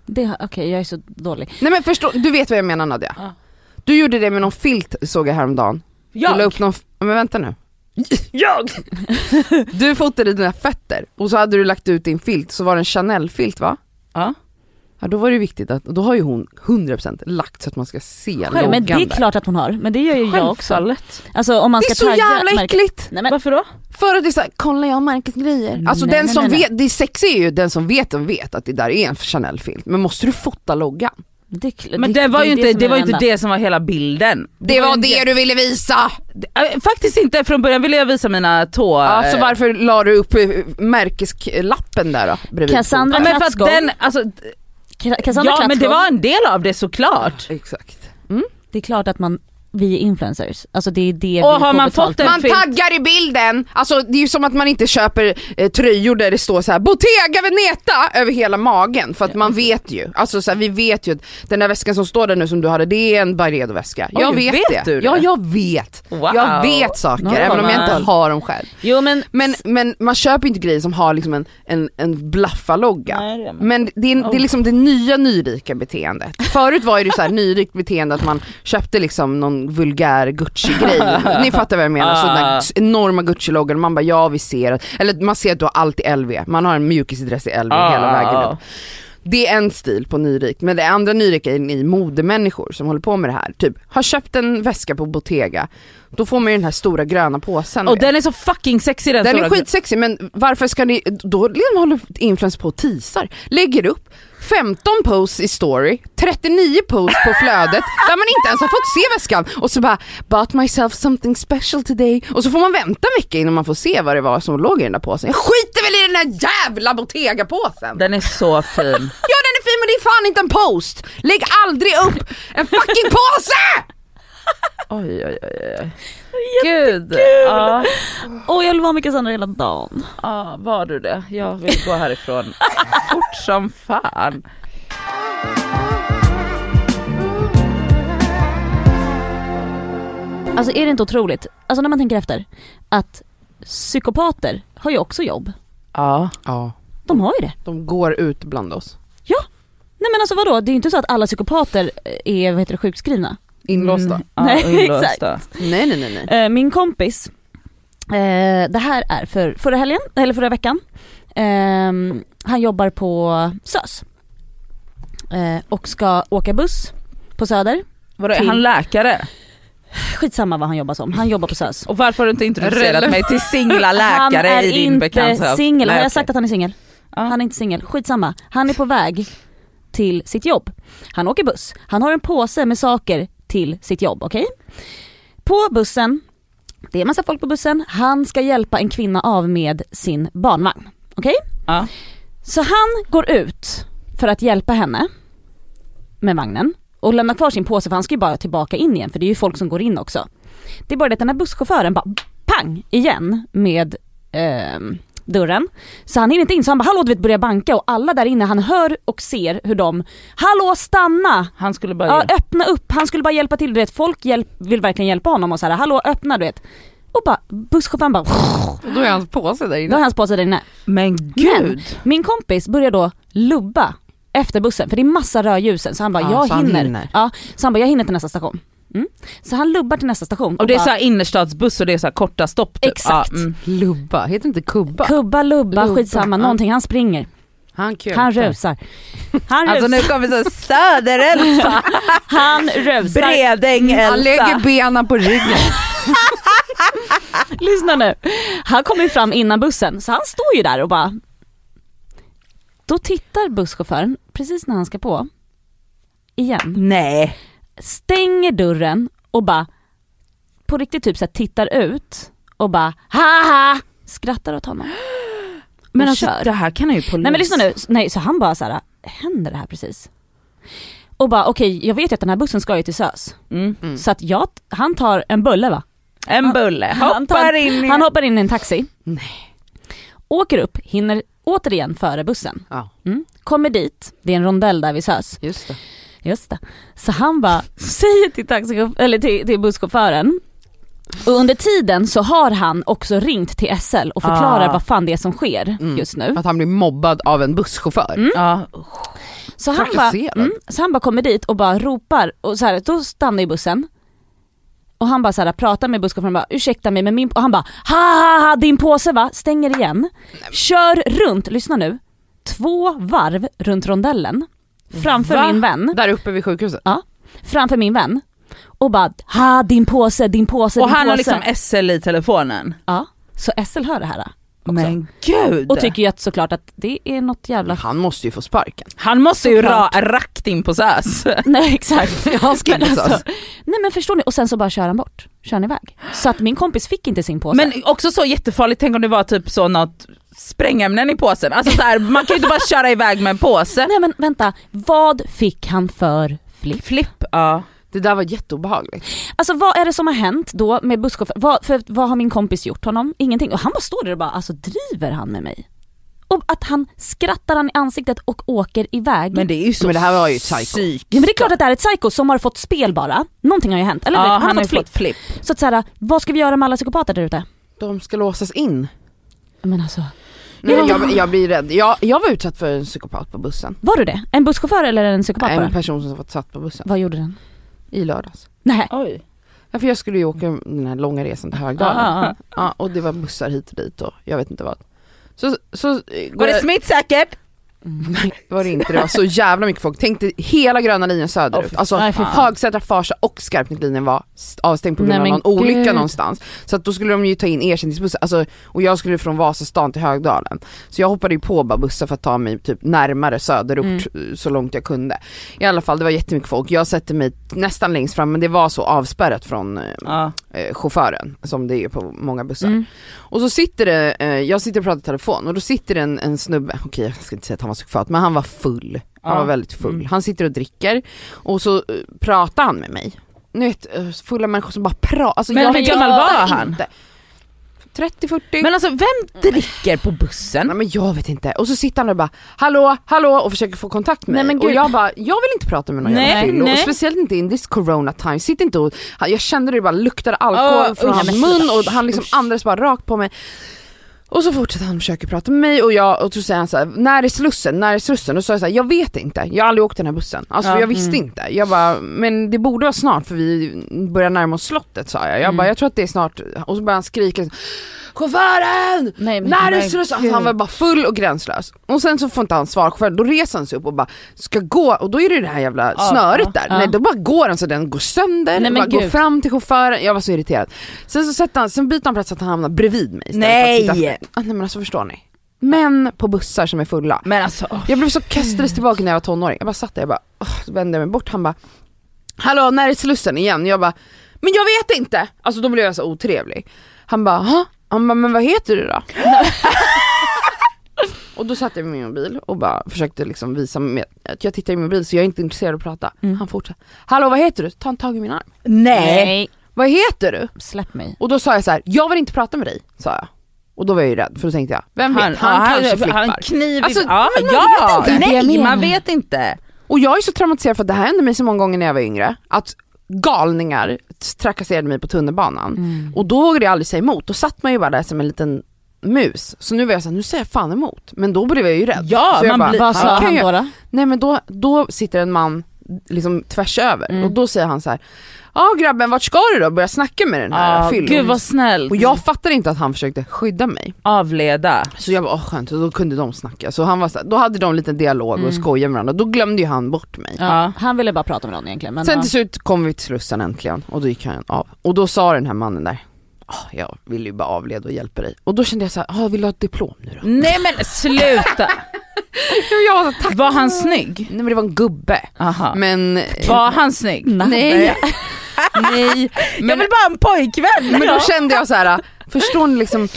Det har- Okej, jag är så dålig. Nej men förstå, du vet vad jag menar Nadja. Ja. Du gjorde det med någon filt såg jag häromdagen. Du la Jag! upp någon, f- men vänta nu. Jag! Du fotade dina fötter och så hade du lagt ut din filt, så var det en Chanel-filt va? Ja. Ja då var det viktigt att, då har ju hon 100% lagt så att man ska se Ja, loggan men det är där. klart att hon har, men det gör ju jag också. Självfallet. Alltså om man Det är ska så tagga jävla märket- äckligt! Nej, men, Varför då? För att det är såhär, kolla jag har Marcus grejer. Alltså Nej, den nej, som nej, nej. vet, det sexiga är ju den som vet, den vet att det där är en Chanel-filt. Men måste du fota loggan? det, är kl- Men det, var är ju inte som det, är var inte enda. det som var hela bilden. Det, var det du ville visa! Äh, Faktiskt inte, från början ville jag visa mina tå... Ja, så eh, varför la du upp eh, märkeslappen där då? Bredvid Cassandra- Ja, men för att Klatskål. den, alltså, Ka- Cassandra ja men det Klatskog, var en del av det såklart. foten? Exakt. det är klart att man, vi är influencers. Alltså det är det Och vi har får man betalt fått för. en- Man fint. taggar i bilden, alltså det är ju som att man inte köper eh, tröjor där det står så här Bottega Veneta över hela magen för att man vet ju, alltså så här, vi vet ju att den där väskan som står där nu som du hade det är en Byredo-väska. Jag Oj, vet, vet det. du det? Ja jag vet. Wow. Jag vet saker Ja, även om jag man. inte har dem själv. Jo men, Men, men man köper inte grejer som har liksom en, en, en blaffalogga. Nej, det gör man Oh. Men det är, det är liksom det nya nyrika beteendet. Förut var ju det så här nyrikt beteende att man köpte liksom någon vulgär Gucci-grej. Ni fattar vad jag menar, Ah. sådana enorma Gucci-loggan. Man bara ja vi ser, att- eller man ser att du har allt i LV, man har en mjukisdress i LV Ah, hela vägen ah, upp. Det är en stil på nyrikt, men det andra nyrika är ni modemänniskor som håller på med det här. Typ, har köpt en väska på Bottega, då får man ju den här stora gröna påsen. Och du vet. den är så fucking sexig den Den stora är skitsexig men varför ska ni, då liksom håller influens på och teasar, lägger upp 15 posts i story, 39 posts på flödet där man inte ens har fått se väskan och så bara “bought myself something special today” och så får man vänta en vecka innan man får se vad det var som låg i den där påsen. Jag skiter väl i den där jävla Bottega-påsen! Den är så fin. Ja den är fin men det är fan inte en post! Lägg aldrig upp en fucking påse! oj oj oj. oj. Gud. Ja, åh jag vill vara med Cassandra hela dagen. ja, var du det? Jag vill gå härifrån fort som fan. Alltså är det inte otroligt? Alltså när man tänker efter, att psykopater har ju också jobb. Ja. Ja, De har ju det. de går ut bland oss. Nej men alltså vadå, det är ju inte så att alla psykopater är vad heter det, sjukskrivna. Inlåsta. Ja, Nej, inlåsta. exakt. Mm. Nej nej nej nej. Eh, Min kompis, eh, det här är för förra helgen, eller förra veckan. Ehm, Han jobbar på SÖS. Eh, Och ska åka buss på Söder. Vadå, är Till- han läkare? Skitsamma vad han jobbar som, han jobbar på SÖS. Och varför har du inte introducerat mig till singlaläkare han är i din inte bekantskap? singel, Nej, har jag okej. sagt att han är singel? Han är inte singel, skitsamma. Han är på väg till sitt jobb. Han åker buss, han har en påse med saker till sitt jobb, okej? På bussen, det är massa folk på bussen, han ska hjälpa en kvinna av med sin barnvagn, okej? Ja. Så han går ut för att hjälpa henne med vagnen och lämnar kvar sin påse för han ska ju bara tillbaka in igen för det är ju folk som går in också. Det är bara det att den här busschauffören bara pang igen med ehm, dörren. Så han hinner inte in så han bara hallå du vet börjar banka och alla där inne han hör och ser hur de hallå stanna! Han skulle bara... Ja, öppna upp, han skulle bara hjälpa till. Du vet folk hjälp, vill verkligen hjälpa honom och så här hallå öppna du vet. Och bara busschauffören bara Och då är hans påse där då har inne. hans påse där inne. Men Men gud! min kompis börjar då lubba efter bussen för det är massa rödljusen så han bara Ja, jag så han hinner. hinner. Ja, så han bara jag hinner till nästa station. Mm. Så han lubbar till nästa station. Och det är bara, så här innerstadsbuss och det är så här korta stopp typ. Exakt. mm. Lubba, heter inte kubba? kubba, lubba, Lubba, skitsamma, ja. någonting. Han springer, Han kutar. han rusar. Han Alltså rusar, nu kommer så Söder-Elsa, han rusar. Mm, Han lägger Bredäng-Elsa. benen på ryggen. Lyssna nu. Han kommer ju fram innan bussen så han står ju där och bara... Då tittar busschauffören, precis när han ska på, igen, Nej. stänger dörren och bara på riktigt typ så här, tittar ut och bara haha skrattar åt honom. Men Och han shit, kör. Det här kan han ju polis. Nej men lyssna nu, S- nej, så han bara så här, händer det här precis? Och bara okej jag vet ju att den här bussen ska ju till SÖS, Mm. så att jag, han tar en bulle va? En Han- bulle, han tar- hoppar in i... Han hoppar in i en taxi. Åker upp, hinner återigen före bussen. Ja, Mm. Kommer dit, det är en rondell där vid SÖS. just det. Just det. Så han bara säger till, taxi, eller till, till busschauffören och under tiden så har han också ringt till SL och förklarar Ah. vad fan det är som sker Mm. just nu. Att han blir mobbad av en busschaufför. Ja, Så han, bara, Trakasserad. mm, så han bara kommer dit och bara ropar och så här, då stannar ju bussen. Och han bara så här, pratar med busschauffören och bara ursäkta mig men min, och han bara ha ha ha din påse va, stänger igen. Kör runt, lyssna nu, två varv runt rondellen framför Va? min vän, Där uppe vid sjukhuset. framför min vän och bara ha din påse, din påse, och din han har påse. liksom SL i telefonen. ja. Så SL hör det här äh, också. Men gud! och tycker ju att såklart att det är något jävla... Han måste ju få sparken. han måste ju ra, Såklart. rakt in på SÖS. Nej exakt. Han ska Men inte alltså, alltså. Nej men förstår ni, och sen så bara kör han bort, kör han iväg. Så att min kompis fick inte sin påse. Men också så jättefarligt, tänk om det var typ så något sprängämnen i påsen. Alltså så här, man kan ju inte bara köra iväg med en påse. Nej men vänta, vad fick han för flipp? Flipp, ja. Det där var jätteobehagligt. Alltså vad är det som har hänt då med busschauffören? Vad, för vad har min kompis gjort honom? Ingenting. Och han bara står där och bara, alltså driver han med mig? Och att han skrattar han i ansiktet och åker iväg. Men det är ju så Men det här var ju psycho. psyk. Ja, men det är klart att det är ett psyko som har fått spel bara. Någonting har ju hänt, eller Ja, hur? han, har ju fått flipp. fått flipp. Så att så här, vad ska vi göra med alla psykopater där ute? De ska låsas in. Men alltså, Nej, men jag, jag blir rädd. Jag, jag var utsatt för en psykopat på bussen. var du det? En busschaufför eller en psykopat En bara? person som varit satt på bussen Vad gjorde den? i lördags. Nej. Oj. Ja, för jag skulle ju åka den här långa resan till Högdalen. Ah, Ja, och det var bussar hit och dit och jag vet inte vad. Så, så eh, Var går det jag- smittsäkert? var det inte, det var så jävla mycket folk. Tänk dig hela gröna linjen söderut. alltså Nej, fy fan. Hagsätra, Farsa och Skarpnäcklinjen var st- avstängd på grund Nej, av men någon olycka gud. någonstans. Så att då skulle de ju ta in ersättningsbussar, alltså, och jag skulle från Vasastan till Högdalen. Så jag hoppade ju på bara bussar för att ta mig typ närmare söderort Mm. eh, så långt jag kunde. I alla fall det var jättemycket folk, jag sätter mig nästan längst fram men det var så avspärrat från eh, Ja. eh, chauffören som det är på många bussar. Mm. Och så sitter det, eh, jag sitter och pratar i telefon och då sitter det en, en snubbe, okej jag ska inte säga att han var psykopat men han var full. Han Ja. var väldigt full. Mm. Han sitter och dricker och så eh, pratar han med mig. Ni vet eh, fulla människor som bara pratar. Alltså, Men jag hur gammal var fattar han? inte. 30-40. Men alltså vem dricker på bussen? Nej men jag vet inte. Och så sitter han där och bara hallå, hallå och försöker få kontakt med Nej, mig. men gud. Och jag bara, jag vill inte prata med någon Nej, jävla fyllo. nej. Och speciellt inte in this corona time. Sitt inte och, han- jag kände det bara luktade alkohol Åh, från usch. hans mun och han liksom andades bara rakt på mig. Och så fortsätter han försöka prata med mig och, jag, och så säger han så här, när är Slussen, när är Slussen? Och så sa jag så här, jag vet inte, jag har aldrig åkt den här bussen. Alltså Ja. Mm. jag visste inte. Jag bara, men det borde Mm. vara snart för vi börjar närma oss slottet sa jag. Jag bara, jag tror att det är snart. Och så började han skrika. chauffören! Nej, men När du herregud. slösar! Alltså, han var bara full och gränslös. Och sen så får inte han svar, chauffören, då reser han sig upp och bara ska gå och då är det ju det här jävla snöret där. ja. Nej då bara går han så den går sönder, Nej, men bara går gud. fram till chauffören, jag var så irriterad. Sen så sätter han, sen byter han plats så att han hamnar bredvid mig istället Nej. För att sitta, ah, nej men alltså förstår ni? Män på bussar som är fulla. Men alltså, Jag blev så kastades tillbaka när jag var tonåring. Jag bara satt där, jag bara, åh, så vände jag mig bort. Han bara, hallå när är Slussen igen? Jag bara, men jag vet inte! Alltså då blev jag så otrevlig. Han bara, ha? Han bara, men vad heter du då? och då satt jag med min mobil och bara försökte liksom visa med, att jag tittar i min mobil så jag är inte intresserad av att prata. Han fortsatte, hallå vad heter du? Ta en tag i min arm. nej. Vad heter du? Släpp mig. Och då sa jag så här, jag vill inte prata med dig, sa jag. Och då var jag ju rädd, för då tänkte jag, vem vet, han, kanske flippar. Han kniv i- Alltså, ja, men man ja, vet inte. Det är nej, jag man vet inte. Och jag är så traumatiserad för att det här hände mig så många gånger när jag var yngre. Att galningar trakasserade mig på tunnelbanan. Mm. Och då vågade jag aldrig säga emot. Då satt man ju bara där som en liten mus. Så nu var jag såhär, nu säger jag fan emot. Men då blev jag ju rädd. Ja, så jag man blir- Vad "Ja, sa kan han jag-" då? då? Nej men då, då sitter en man liksom tvärs över Mm. och då säger han så här: ja grabben vart ska du då? Börja snacka med den här Ah, fyllon. Gud vad snällt. Och jag fattade inte att han försökte skydda mig. Avleda. Så jag bara, åh skönt, och då kunde de snacka. Så han var så här, då hade de lite dialog Mm. och skojade med varandra. Då glömde ju han bort mig. Ja. Han ville bara prata med någon egentligen. Men Sen ja. till slut kom vi till Slussen äntligen och då gick han av. Och då sa den här mannen där, "Ah, jag vill ju bara avleda och hjälpa dig. Och då kände jag så här, ah, vill du ha ett diplom nu då? Nej men sluta. Jag var, så, tack. Var han snygg? Nej men det var en gubbe. Aha. Men Var han snygg? nej, nej. Jag Men, vill bara ha en pojkvän. eh, men då Ja. kände jag så här, förstår ni liksom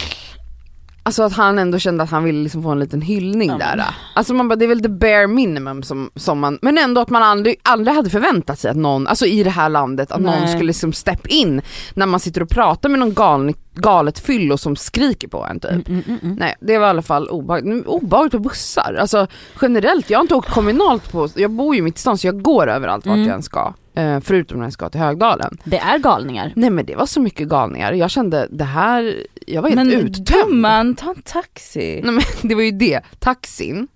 Alltså att han ändå kände att han ville liksom få en liten hyllning där. Alltså man bara, det är väl the bare minimum som, som man, men ändå att man aldrig, aldrig hade förväntat sig att någon, alltså i det här landet, att någon skulle liksom step in när man sitter och pratar med någon galn, galet fyllo som skriker på en typ. Mm, Nej, det var i alla fall obehagligt. Men Obehagligt på bussar, alltså generellt, jag har inte åkt kommunalt på, jag bor ju mitt i stan så jag går överallt vart jag än ska. eh, Förutom när jag ska till Högdalen. det är galningar. Nej men det var så mycket galningar, jag kände det här, jag var helt Men uttömd. gumman, ta en taxi. Nej, men det var ju det. Taxin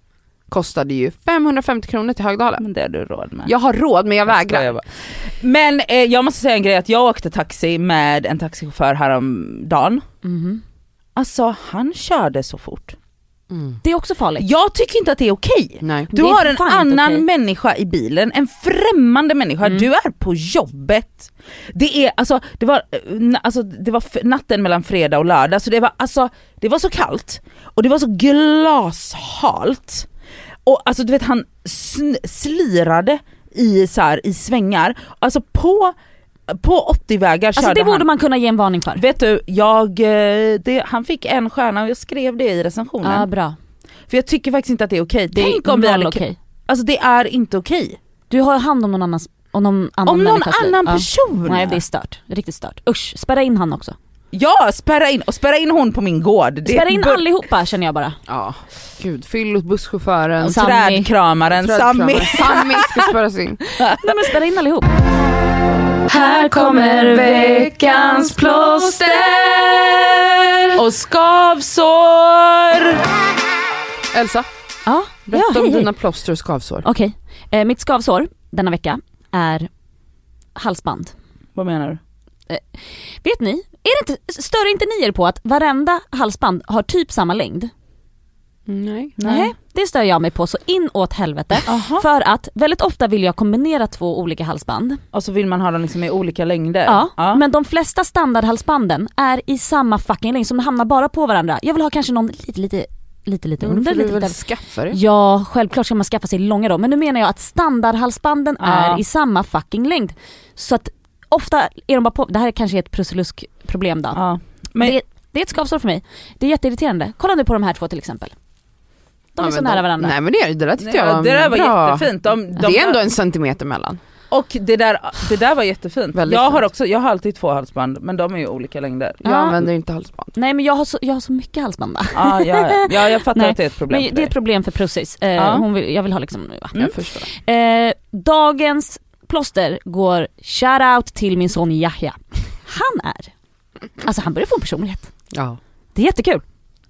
kostade ju 550 kronor till Högdalen. Men det har du råd med. Jag har råd men jag vägrar. skojar Mm. bara. Men eh, jag måste säga en grej, att jag åkte taxi med en taxichaufför häromdagen. Mhm. Alltså han körde så fort. Det är också farligt. Jag tycker inte att det är okej. Mm. Nej. Du Det är har för en fan inte annan okej. Mm. människa i bilen, en främmande människa, du är på jobbet. Det, är, alltså, det var, eh, na- alltså, det var f- natten mellan fredag och lördag, så det var, alltså, det var så kallt och det var så glashalt. Och alltså du vet han sn- slirade i, så här, i svängar, alltså på, på 80-vägar Alltså körde det borde han. man kunna ge en varning för. Vet du, jag, eh, det, han fick en stjärna och jag skrev det i recensionen. Ja bra. För jag tycker faktiskt inte att det är okej. Det Tänk om vi noll hade okej. Alltså det är inte okej. Du har hand om någon annans om någon annan, Om någon människas liv. annan Ja. person! Nej det är stört, riktigt stört. Usch, spärra in han också. Ja, spärra in, och spärra in hon på min gård. Det Spärra in bör- allihopa känner jag bara. Ja, gud. Fyllot, busschauffören, Sammy. Trädkramaren, Sammy. trädkramaren. Sammy ska spärras in. Nej men spärra in allihop. Här kommer veckans plåster. Och skavsår! Elsa, Ja, ja berätta om hej, hej. dina plåster och skavsår. Okej, eh, mitt skavsår denna vecka är halsband. Vad menar du? Vet ni, är det inte, stör inte ni er på att varenda halsband har typ samma längd? Nej. Nej. Det stör jag mig på så inåt helvete. Aha. För att väldigt ofta vill jag kombinera två olika halsband. Eh, Och så vill man ha dem liksom i olika längder. Ja, Men de flesta standardhalsbanden är i samma fucking längd, som de hamnar bara på varandra. Jag vill ha kanske någon lite, lite, lite, lite Jo, då under, får lite, du lite väl över. skaffa det. Ja, självklart ska man skaffa sig långa då. Men nu menar jag att standardhalsbanden Ja. är i samma fucking längd. Så att ofta är de bara på, det här är kanske är ett prusselusk problem då. Ja. Men- det, det är ett skavsår för mig. Det är jätteirriterande. Kolla nu på de här två till exempel. De är Ja, så men nära Mm. varandra. Nej men det, det där tyckte Nej, jag var det där var bra. jättefint. De, de det är ändå en centimeter mellan. Och det där, det där var jättefint. Väldigt Jag har, fint. också, jag har alltid två halsband men de är ju olika längder. Jag Ja. använder inte halsband. Nej men jag har så, jag har så mycket halsband va? Ja, ja, ja. ja jag fattar Nej, att det är ett problem Men det är för dig. ett problem för Prussis. Eh, Ja. hon vill, jag vill ha liksom nu va? Mm. Jag förstår. Eh, dagens plåster går shoutout till min son Yahya. Han är, alltså han börjar få en personlighet. Ja. Det är jättekul.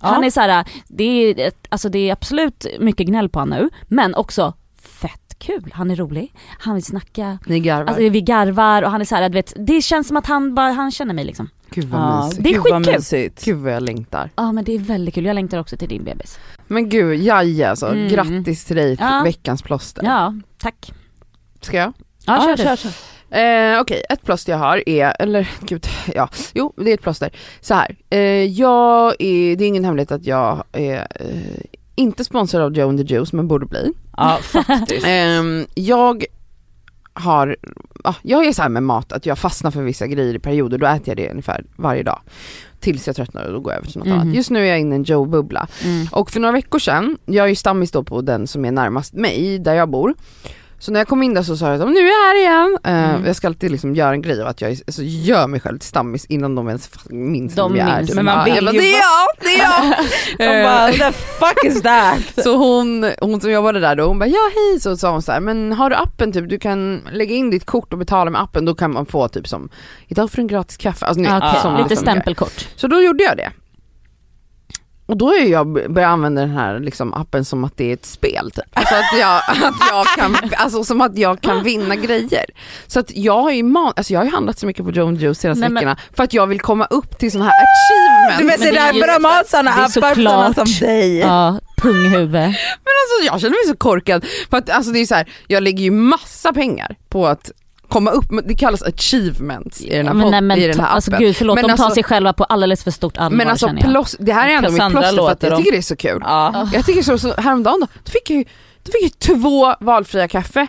Ja. Han är så här, det är, ett- alltså det är absolut mycket gnäll på honom nu men också fett skitkul, han är rolig, han vill snacka, Ni garvar. alltså, vi garvar och han är så här, du vet, det känns som att han bara, han känner mig liksom. Gud vad Ja, mysigt. Det är gud vad skitkul. mysigt. Gud vad jag längtar. Ja men det är väldigt kul, jag längtar också till din bebis. Men gud, jaja alltså. Mm. Grattis till dig, Ja. veckans plåster. Ja, tack. Ska jag? Ja, kör, Ja, du. kör, kör. Eh, Okej, ett plåster jag har är, eller gud, ja, jo det är ett plåster. Så här, eh, jag är, det är ingen hemlighet att jag är eh, inte sponsrad av Joe and the Juice men borde bli. Ja, faktiskt. Ehm, jag har, ja, jag är så här med mat att jag fastnar för vissa grejer i perioder, då äter jag det ungefär varje dag. Tills jag tröttnar och då går jag över till något Mhm. annat. Just nu är jag inne i en Joe-bubbla. Mm. Och för några veckor sedan, jag är ju stammis då på den som är närmast mig, där jag bor. Så när jag kom in där så sa jag att nu är jag här igen. Eh, Jag ska alltid liksom göra en grej av att jag är, alltså, gör mig själv till stammis innan de ens fucking minns De vem jag är. minns. Typ. Men man Ja, vill jag bara, ju det är jag, det är jag! De bara, the fuck is that? Så hon, hon som jobbade där då, hon bara ja hej, så sa hon så här, men har du appen typ, du kan lägga in ditt kort och betala med appen, då kan man få typ som, idag får du en gratis kaffe. Alltså, ni vet, Ah, Okej, som lite liksom grej. stämpelkort. Så då gjorde jag det. Och då är jag börjat använda den här liksom, appen som att det är ett spel. Typ. Alltså, att jag, att jag kan, alltså som att jag kan vinna grejer. Så att jag har ju, man, alltså, jag har ju handlat så mycket på Joan Juice senaste Nej, men- veckorna för att jag vill komma upp till sådana här achievements. Du vet Men det är det är ju- därför de har sådana det är appar för sådana såklart. som dig. Ja, punghuvud. Alltså jag känner mig så korkad. För att, alltså, det är så här, jag lägger ju massa pengar på att komma upp, med- det kallas achievements i den här, Men, pod- nej, men, i den här appen. alltså, gud förlåt, Men de tar alltså- sig själva på alldeles för stort allvar men alltså känner jag. plås, det här är ändå mitt Cassandra plåster för att låter jag dem. tycker det är så kul. Ja. Jag tycker så, så häromdagen då, då fick jag ju, då fick jag ju två valfria kaffe.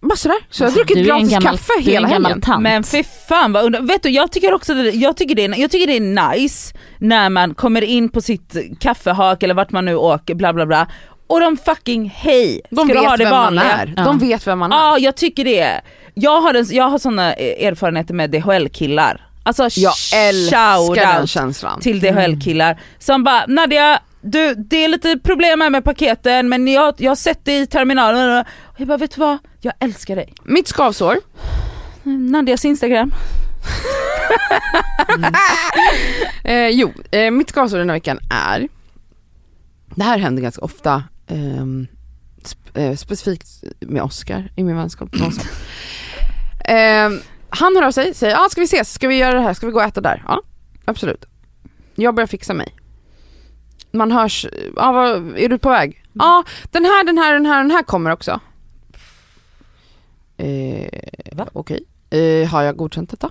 Bara sådär, så jag har Alltså, du är druckit en gratis gammal- kaffe Du är hela en gammal helgen. tant. Men fy fan vad under... Vet du jag tycker också det, jag tycker det, är, jag tycker det är nice när man kommer in på sitt kaffehak eller vart man nu åker bla bla bla och de fucking hej, De ska du ha vet det vem man vanliga? är. Ja. Ah, De vet vem man är. Ja jag tycker det. Jag har, en, jag har sådana eh, erfarenheter med DHL-killar. Alltså Jag älskar den shout-out känslan. till DHL-killar som bara Nadia, du, det är lite problem här med paketen men jag, jag har sett dig i terminalen och jag bara vet du vad, jag älskar dig. Mm, Mitt skavsår, Nadias instagram. Eh, jo, eh, mitt skavsår den här veckan är, det här händer ganska ofta, ehm, sp- eh, specifikt med Oscar i min vänskap med Oscar. Ehm, han hör av sig, säger ah, ska vi ses, ska vi göra det här, ska vi gå och äta där? Ja, absolut. Jag börjar fixa mig. Man hörs, ah, vad, är du på väg? Ja, ah, den här, den här, den här, den här kommer också. Eh, Okej, eh, har jag godkänt detta?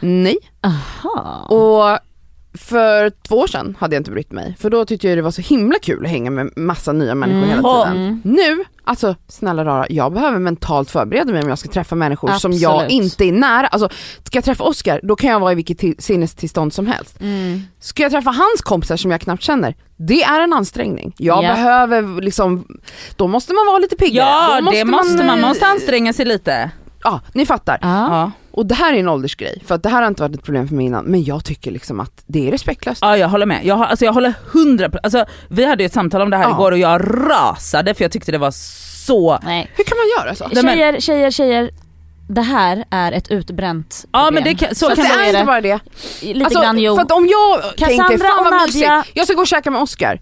Nej. Aha. Och för två år sedan hade jag inte brytt mig för då tyckte jag det var så himla kul att hänga med massa nya människor Mm. hela tiden. Mm. Nu, alltså snälla rara, jag behöver mentalt förbereda mig om jag ska träffa människor som jag Absolut. inte är nära. Alltså, ska jag träffa Oscar, då kan jag vara i vilket till- sinnestillstånd som helst. Mm. Ska jag träffa hans kompisar som jag knappt känner, det är en ansträngning. Jag Ja. behöver liksom, då måste man vara lite piggare. Ja då det måste man, man eh, måste anstränga sig lite. Ja, ni fattar. Ja. Ja. Och det här är en åldersgrej, för att det här har inte varit ett problem för mig innan, men jag tycker liksom att det är respektlöst. ja jag håller med, jag, har, alltså, jag håller hundra alltså, Vi hade ju ett samtal om det här Ja. igår och jag rasade för jag tyckte det var så Nej. Hur kan man göra så? Nej, men- Tjejer, tjejer, tjejer. Det här är ett utbränt Ja problem. men det kan, så Fast kan Fast det det är inte det. bara det. Lite Alltså, grann jo. för att om jag tänker, Cassandra fan och vad Nadja- Mm. mysigt, jag ska gå och käka med Oscar.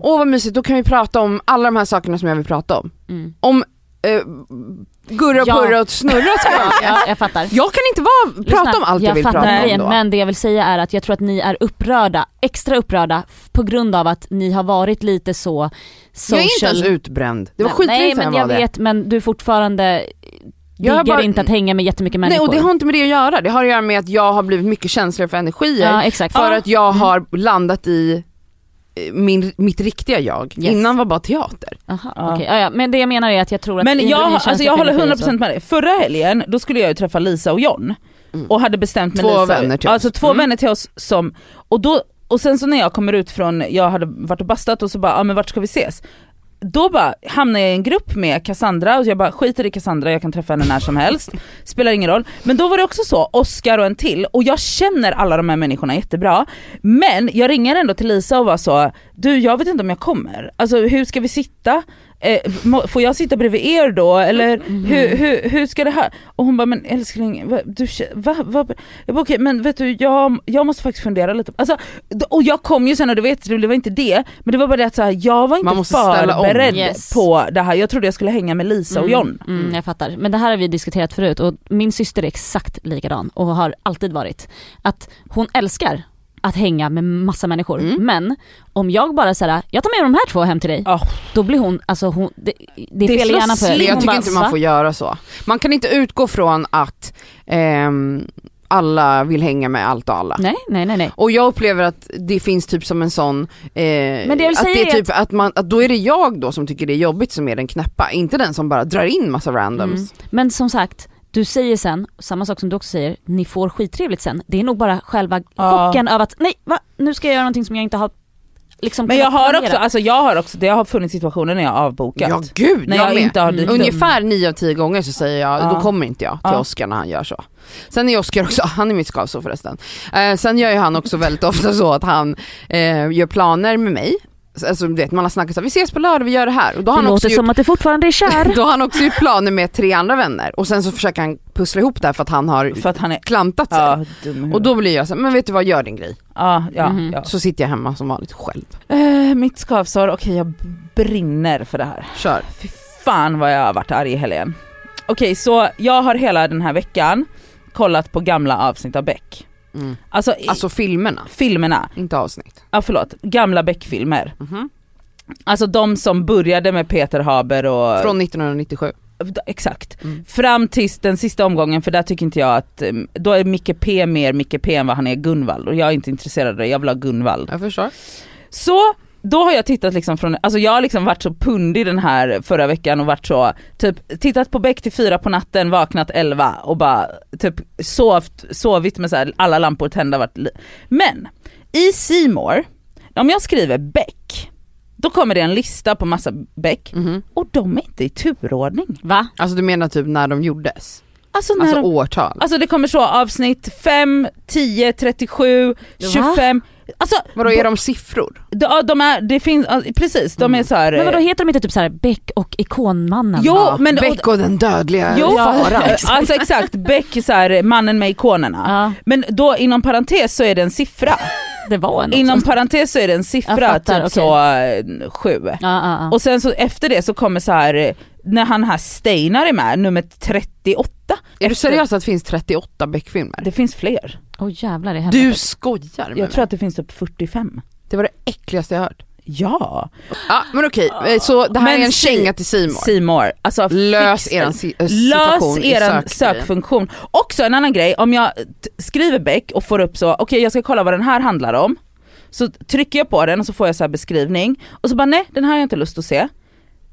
Åh vad mysigt, då kan vi prata om alla de här sakerna som jag vill prata om. Mm. Om eh, Gurra och Ja. Purra och Snurra ska jag ja, jag fattar. Jag kan inte vara, prata om allt jag, vill fattar prata om grejen, då. Men det jag vill säga är att jag tror att ni är upprörda, extra upprörda f- på grund av att ni har varit lite så social. jag är inte ens utbränd, det var Nej, skitlänge Nej sedan men jag var jag det. vet men du är fortfarande Jag har diggar bara- inte att hänga med jättemycket Nej människor. och det har inte med det att göra, det har att göra med att jag har blivit mycket känsligare för energier. Ja exakt. För Ja. Mm. att jag har landat i eh, min, mitt riktiga jag. Yes. Innan var bara teater. Aha, Ja. okej. ja, ja. Men det jag menar är att jag tror att Men ni- jag, ni känns alltså, jag lite håller energi 100% så. med dig. Förra helgen då skulle jag ju träffa Lisa och John och hade bestämt med Mm. Två Lisa. vänner till oss. Alltså Mm. två vänner till oss som, och, då, och sen så när jag kommer ut från, jag hade varit och bastat och så bara, ja men vart ska vi ses? Då bara hamnar jag i en grupp med Cassandra och jag bara skiter i Cassandra, jag kan träffa henne när som helst. Spelar ingen roll. Men då var det också så, Oscar och en till, och jag känner alla de här människorna jättebra. Men jag ringer ändå till Lisa och var så, du jag vet inte om jag kommer. Alltså hur ska vi sitta? Eh, må- får jag sitta bredvid er då? Eller Mm. hur, hur, hur ska det här? Och hon bara, men älskling, va, du, kä- va, va? Jag bara, okej men vet du jag, jag måste faktiskt fundera lite. Alltså, d- och jag kom ju sen och du vet, det var inte det, men det var bara det att så här, jag var inte Man måste ställa om. förberedd Yes. på det här. Jag trodde jag skulle hänga med Lisa och John. Mm, jag fattar. Men det här har vi diskuterat förut och min syster är exakt likadan och har alltid varit. Att hon älskar att hänga med massa människor men om jag bara säger jag tar med de här två hem till dig. Mm. Ja. Då blir hon, alltså hon, det, det är Det fel i slår hjärnan på henne. slint. Hon Jag tycker bara, inte man "Va?" får göra så. Man kan inte utgå från att ehm, alla vill hänga med allt och alla. Nej, nej, nej. nej. Och jag upplever att det finns typ som en sån, eh, jag vill att säga det är är typ att, man, att då är det jag då som tycker det är jobbigt som är den knäppa, inte den som bara drar in massa randoms. Mm. Men som sagt, du säger sen, samma sak som du också säger, ni får skittrevligt sen. Det är nog bara själva Ja. chocken av att nej, va? nu ska jag göra någonting som jag inte har liksom Men jag kunnat har planera." också, alltså jag har också, det har funnits situationer när jag har avbokat. Ja gud, när jag, jag, med. inte har dykt upp. Ungefär nio av tio gånger så säger jag, Ja. då kommer inte jag till Ja. Oscar när han gör så. Sen är Oscar också, han är mitt skavsår förresten. Eh, sen gör ju han också väldigt ofta så att han eh, gör planer med mig. Alltså du vet man har snackat så här, vi ses på lördag, vi gör det här. Och då har Det han också låter gjort som att du fortfarande är kär. Då har han också gjort planer med tre andra vänner och sen så försöker han pussla ihop det här för att han har För att han är klantat sig. ja, dum i huvudet. Och då blir jag så här, men vet du vad, gör din grej. ja, ja, Mhm. ja. Så sitter jag hemma som vanligt själv. Eh, mitt skavsår, okej jag brinner för det här. Kör. Fy fan vad jag har varit arg i helgen. Okej så jag har hela den här veckan kollat på gamla avsnitt av Beck. Mm. Alltså, i- Alltså filmerna, filmerna, inte avsnitt. ja förlåt, gamla Beck-filmer. Mhm. Alltså de som började med Peter Haber och... Från 1997. Exakt. Mm. Fram tills den sista omgången för där tycker inte jag att, eh, då är Micke P mer Micke P än vad han är Gunvald och jag är inte intresserad av det, jag vill ha Gunvald. Jag förstår. Så då har jag tittat liksom från, alltså jag har liksom varit så pundig den här förra veckan och varit så, typ tittat på Beck till fyra på natten, vaknat elva och bara typ sovt, sovit med så här, alla lampor tända. Varit li- Men i C More, om jag skriver Beck, då kommer det en lista på massa Beck Mhm. och de är inte i turordning. Va? Alltså du menar typ när de gjordes? Alltså, när Alltså de, årtal? alltså det kommer så avsnitt 5, 10, 37, 25, alltså Vadå är de siffror? de, de är, det finns, alltså, precis de är så här. Men vadå heter de inte typ såhär Beck och Ikonmannen? Jo Ja, men Beck och den dödliga Jo, faran. alltså exakt, Beck så här, mannen med ikonerna. Ja, Men då inom parentes så är det en siffra. det var en Inom också. parentes så är det en siffra, Jag fattar, typ så eh, sju. Ja, ja, ja. Och sen så efter det så kommer så här eh, när han här Steinar är med, nummer 38. Är du Efter- seriös att det finns 38 Beck-filmer? Det finns fler. Åh jävlar i helvete. Du skojar med Jag tror mig. att det finns typ 45. Det var det äckligaste jag hört. Ja, Ja men okej, eh, så det här Men är en si- känga till Simon. Seymour. Alltså Lös fix- er si- eh, Lös situation i er sökgrejen. sökfunktion. Också en annan grej, om jag t- skriver Beck och får upp så, okej jag ska kolla vad den här handlar om. Så trycker jag på den och så får jag så här beskrivning och så bara nej den här har jag inte lust att se.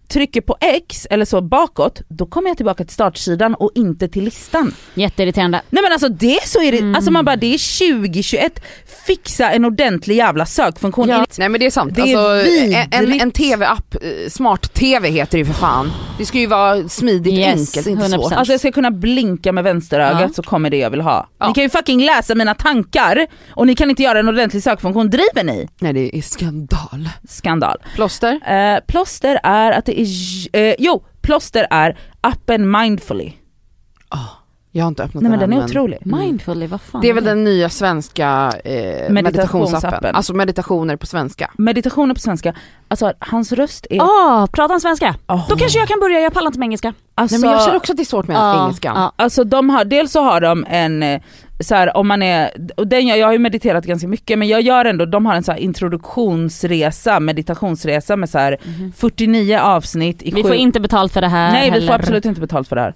Trycker på X eller så bakåt, då kommer jag tillbaka till startsidan och inte till listan. Jätteirriterande. Nej men alltså det är så irriterande, Mm. alltså man bara det är 2021, fixa en ordentlig jävla sökfunktion. Ja. In- Nej men det är sant. Det är alltså, en, en, vidrigt. en tv-app, eh, smart-tv heter det ju för fan. Det ska ju vara smidigt, Yes, enkelt, inte svårt. 100%. Alltså jag ska kunna blinka med vänsterögat Ja. så kommer det jag vill ha. Ja. Ni kan ju fucking läsa mina tankar och ni kan inte göra en ordentlig sökfunktion, driver ni? Nej det är skandal. Skandal. Plåster? Eh, plåster är att det är, eh, jo plåster är appen mindfully. Jag har inte öppnat Nej men än, den är otrolig. Mindfully, vad fan. Det är väl den nya svenska eh, meditationsappen. Meditationsappen. Alltså meditationer på svenska. Meditationer på svenska, alltså hans röst är... Ah, pratar han svenska? Åh. Då kanske jag kan börja, jag pallar inte med engelska. alltså, Nej men jag känner också att det är svårt med Ja, engelskan. ja. Alltså de har, dels så har de en, eh, så här, om man är, och den jag, jag har ju mediterat ganska mycket men jag gör ändå, de har en så här introduktionsresa, meditationsresa med så här 49 avsnitt i Mhm. Vi sju- får inte betalt för det här Nej vi heller. får absolut inte betalt för det här.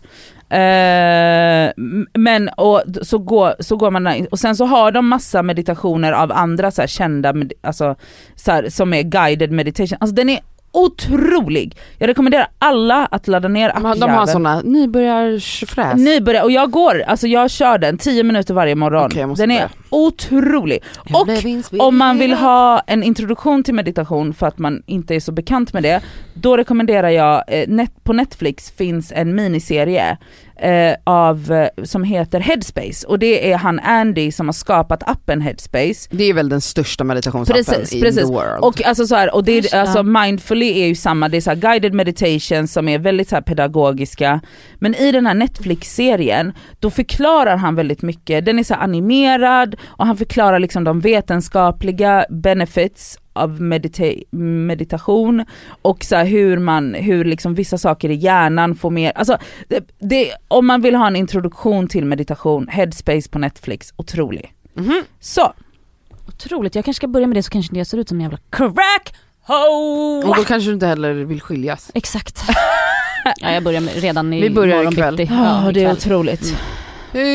Eh, m- men och, d- så, går, så går man där. och sen så har de massa meditationer av andra så här, kända, med, alltså, så här, som är guided meditation. Alltså den är otrolig! Jag rekommenderar alla att ladda ner De har- De har appjäveln. sådana nybörjarsfräs. Nybörjare, och jag går, alltså jag kör den 10 minuter varje morgon. Okej, jag måste den är börja. otrolig. Och om man vill ha en introduktion till meditation för att man inte är så bekant med det, då rekommenderar jag, eh, net, på Netflix finns en miniserie eh, av, eh, som heter Headspace och det är han Andy som har skapat appen Headspace. Det är väl den största meditationsappen Precis, in precis. the world. Och alltså så här, och det Just är, det. alltså mindfully är ju samma, det är så här guided meditation som är väldigt så här pedagogiska. Men i den här Netflix-serien, då förklarar han väldigt mycket, den är så här animerad och han förklarar liksom de vetenskapliga benefits av medita- meditation och så här hur man, hur liksom vissa saker i hjärnan får mer, alltså det, det, om man vill ha en introduktion till meditation, headspace på Netflix, otrolig. Mhm. Så, Otroligt, jag kanske ska börja med det så kanske inte jag ser ut som en jävla crack ho! och då kanske du inte heller vill skiljas. Exakt. ja, jag börjar med, redan i Vi börjar morgon ikväll. bitti. ja, det är ikväll. otroligt.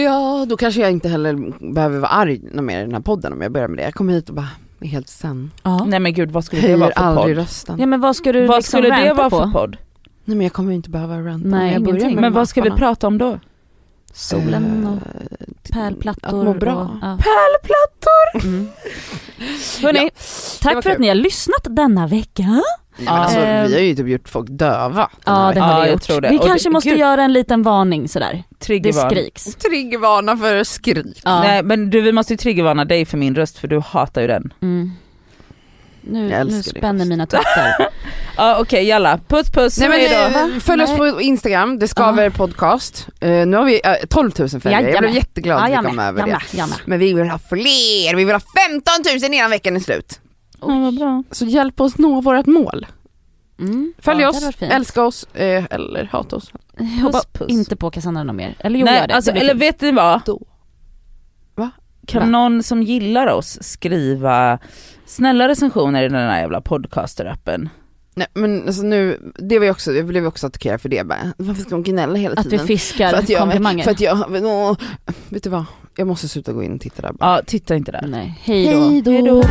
Ja, då kanske jag inte heller behöver vara arg någon mer i den här podden om jag börjar med det. Jag kommer hit och bara är helt sen. ja. Nej men gud vad skulle det Höjer vara för aldrig podd? rösten. ja men vad ska du Vad liksom skulle det ranta vara på? för podd? Nej men jag kommer ju inte behöva ranta. Nej, jag ingenting. Men vad ska vi prata om då? Eh, Solen Mm. och att pärlplattor. må bra. Och, ja. Mm. Hörrni, det tack var för att kul. ni har lyssnat denna vecka. Nej, men alltså, Eh. vi har ju typ gjort folk döva. den här Ja det veckan. Ja, har vi jag gjort. tror det. Vi Och kanske det- måste gud. göra en liten varning sådär. Det Triggervarning. skriks. Triggervarna för skrik. Ja. Nej men du vi måste ju triggervarna dig för min röst för du hatar ju den. Mm. Nu, Jag nu älskar det. spänner mina tuttar. Ja okej jalla, puss puss. Nej, Hej då. men, eh, följ oss på Instagram, det skaver podcast. Eh, nu har vi eh, 12 000 följare, jag blev Jajamän. jätteglad att vi jag kom med, över jag det. med, jag med. Men vi vill ha fler, vi vill ha 15 000 innan veckan är slut. Ja, vad bra. Så hjälp oss nå vårt mål. Mm. Följ Ja, det hade varit oss, fint. älska oss eh, eller hata oss. Jag hoppas Puss, puss. inte på Cassandra något mer. Eller jo, Nej, gör det. alltså, det blir eller kul. vet ni vad? Då. Va? Kan Va? någon som gillar oss skriva snälla recensioner i den här jävla podcasterappen? Nej men alltså nu, det var ju också, jag blev också attackerad för det bara. Varför ska hon gnälla hela att vi tiden? fiskar komplimanger. För att jag, åh, vet du vad? Jag måste sluta gå in och titta där bara. Ja, titta inte där. Nej, hej då. Hej då.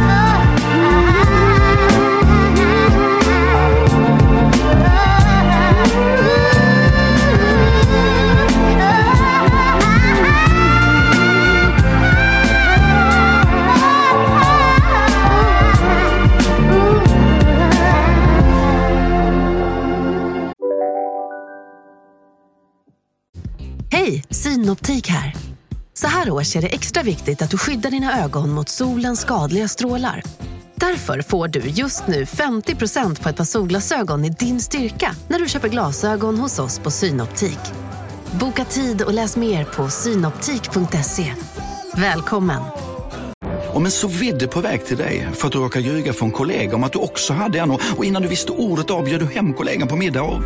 Hej, Synoptik här. Så här års är det extra viktigt att du skyddar dina ögon mot solens skadliga strålar. Därför får du just nu 50% på ett par solglasögon i din styrka när du köper glasögon hos oss på Synoptik. Boka tid och läs mer på synoptik.se. Välkommen! Om en så vidde på väg till dig för att du råkar ljuga från kollega om att du också hade en och och innan du visste ordet av bjöd du hem kollegan på middag och...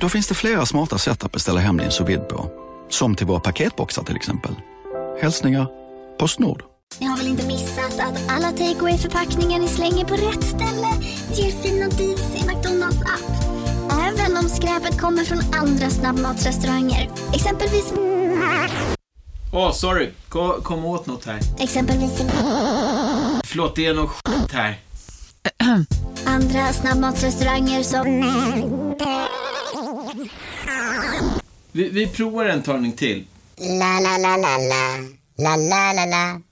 Då finns det flera smarta sätt att beställa hem din sous vide på. Som till våra paketboxar till exempel. Hälsningar Postnord. Ni har väl inte missat att alla takeaway förpackningar ni slänger på rätt ställe ger fina deals i McDonalds app. Även om skräpet kommer från andra snabbmatsrestauranger. Exempelvis... Åh, sorry. Kom, kom åt något här. Exempelvis... Förlåt, det är något skit här. Andra snabbmatsrestauranger som... Vi, vi provar en talning till. La la la la la. La la la la.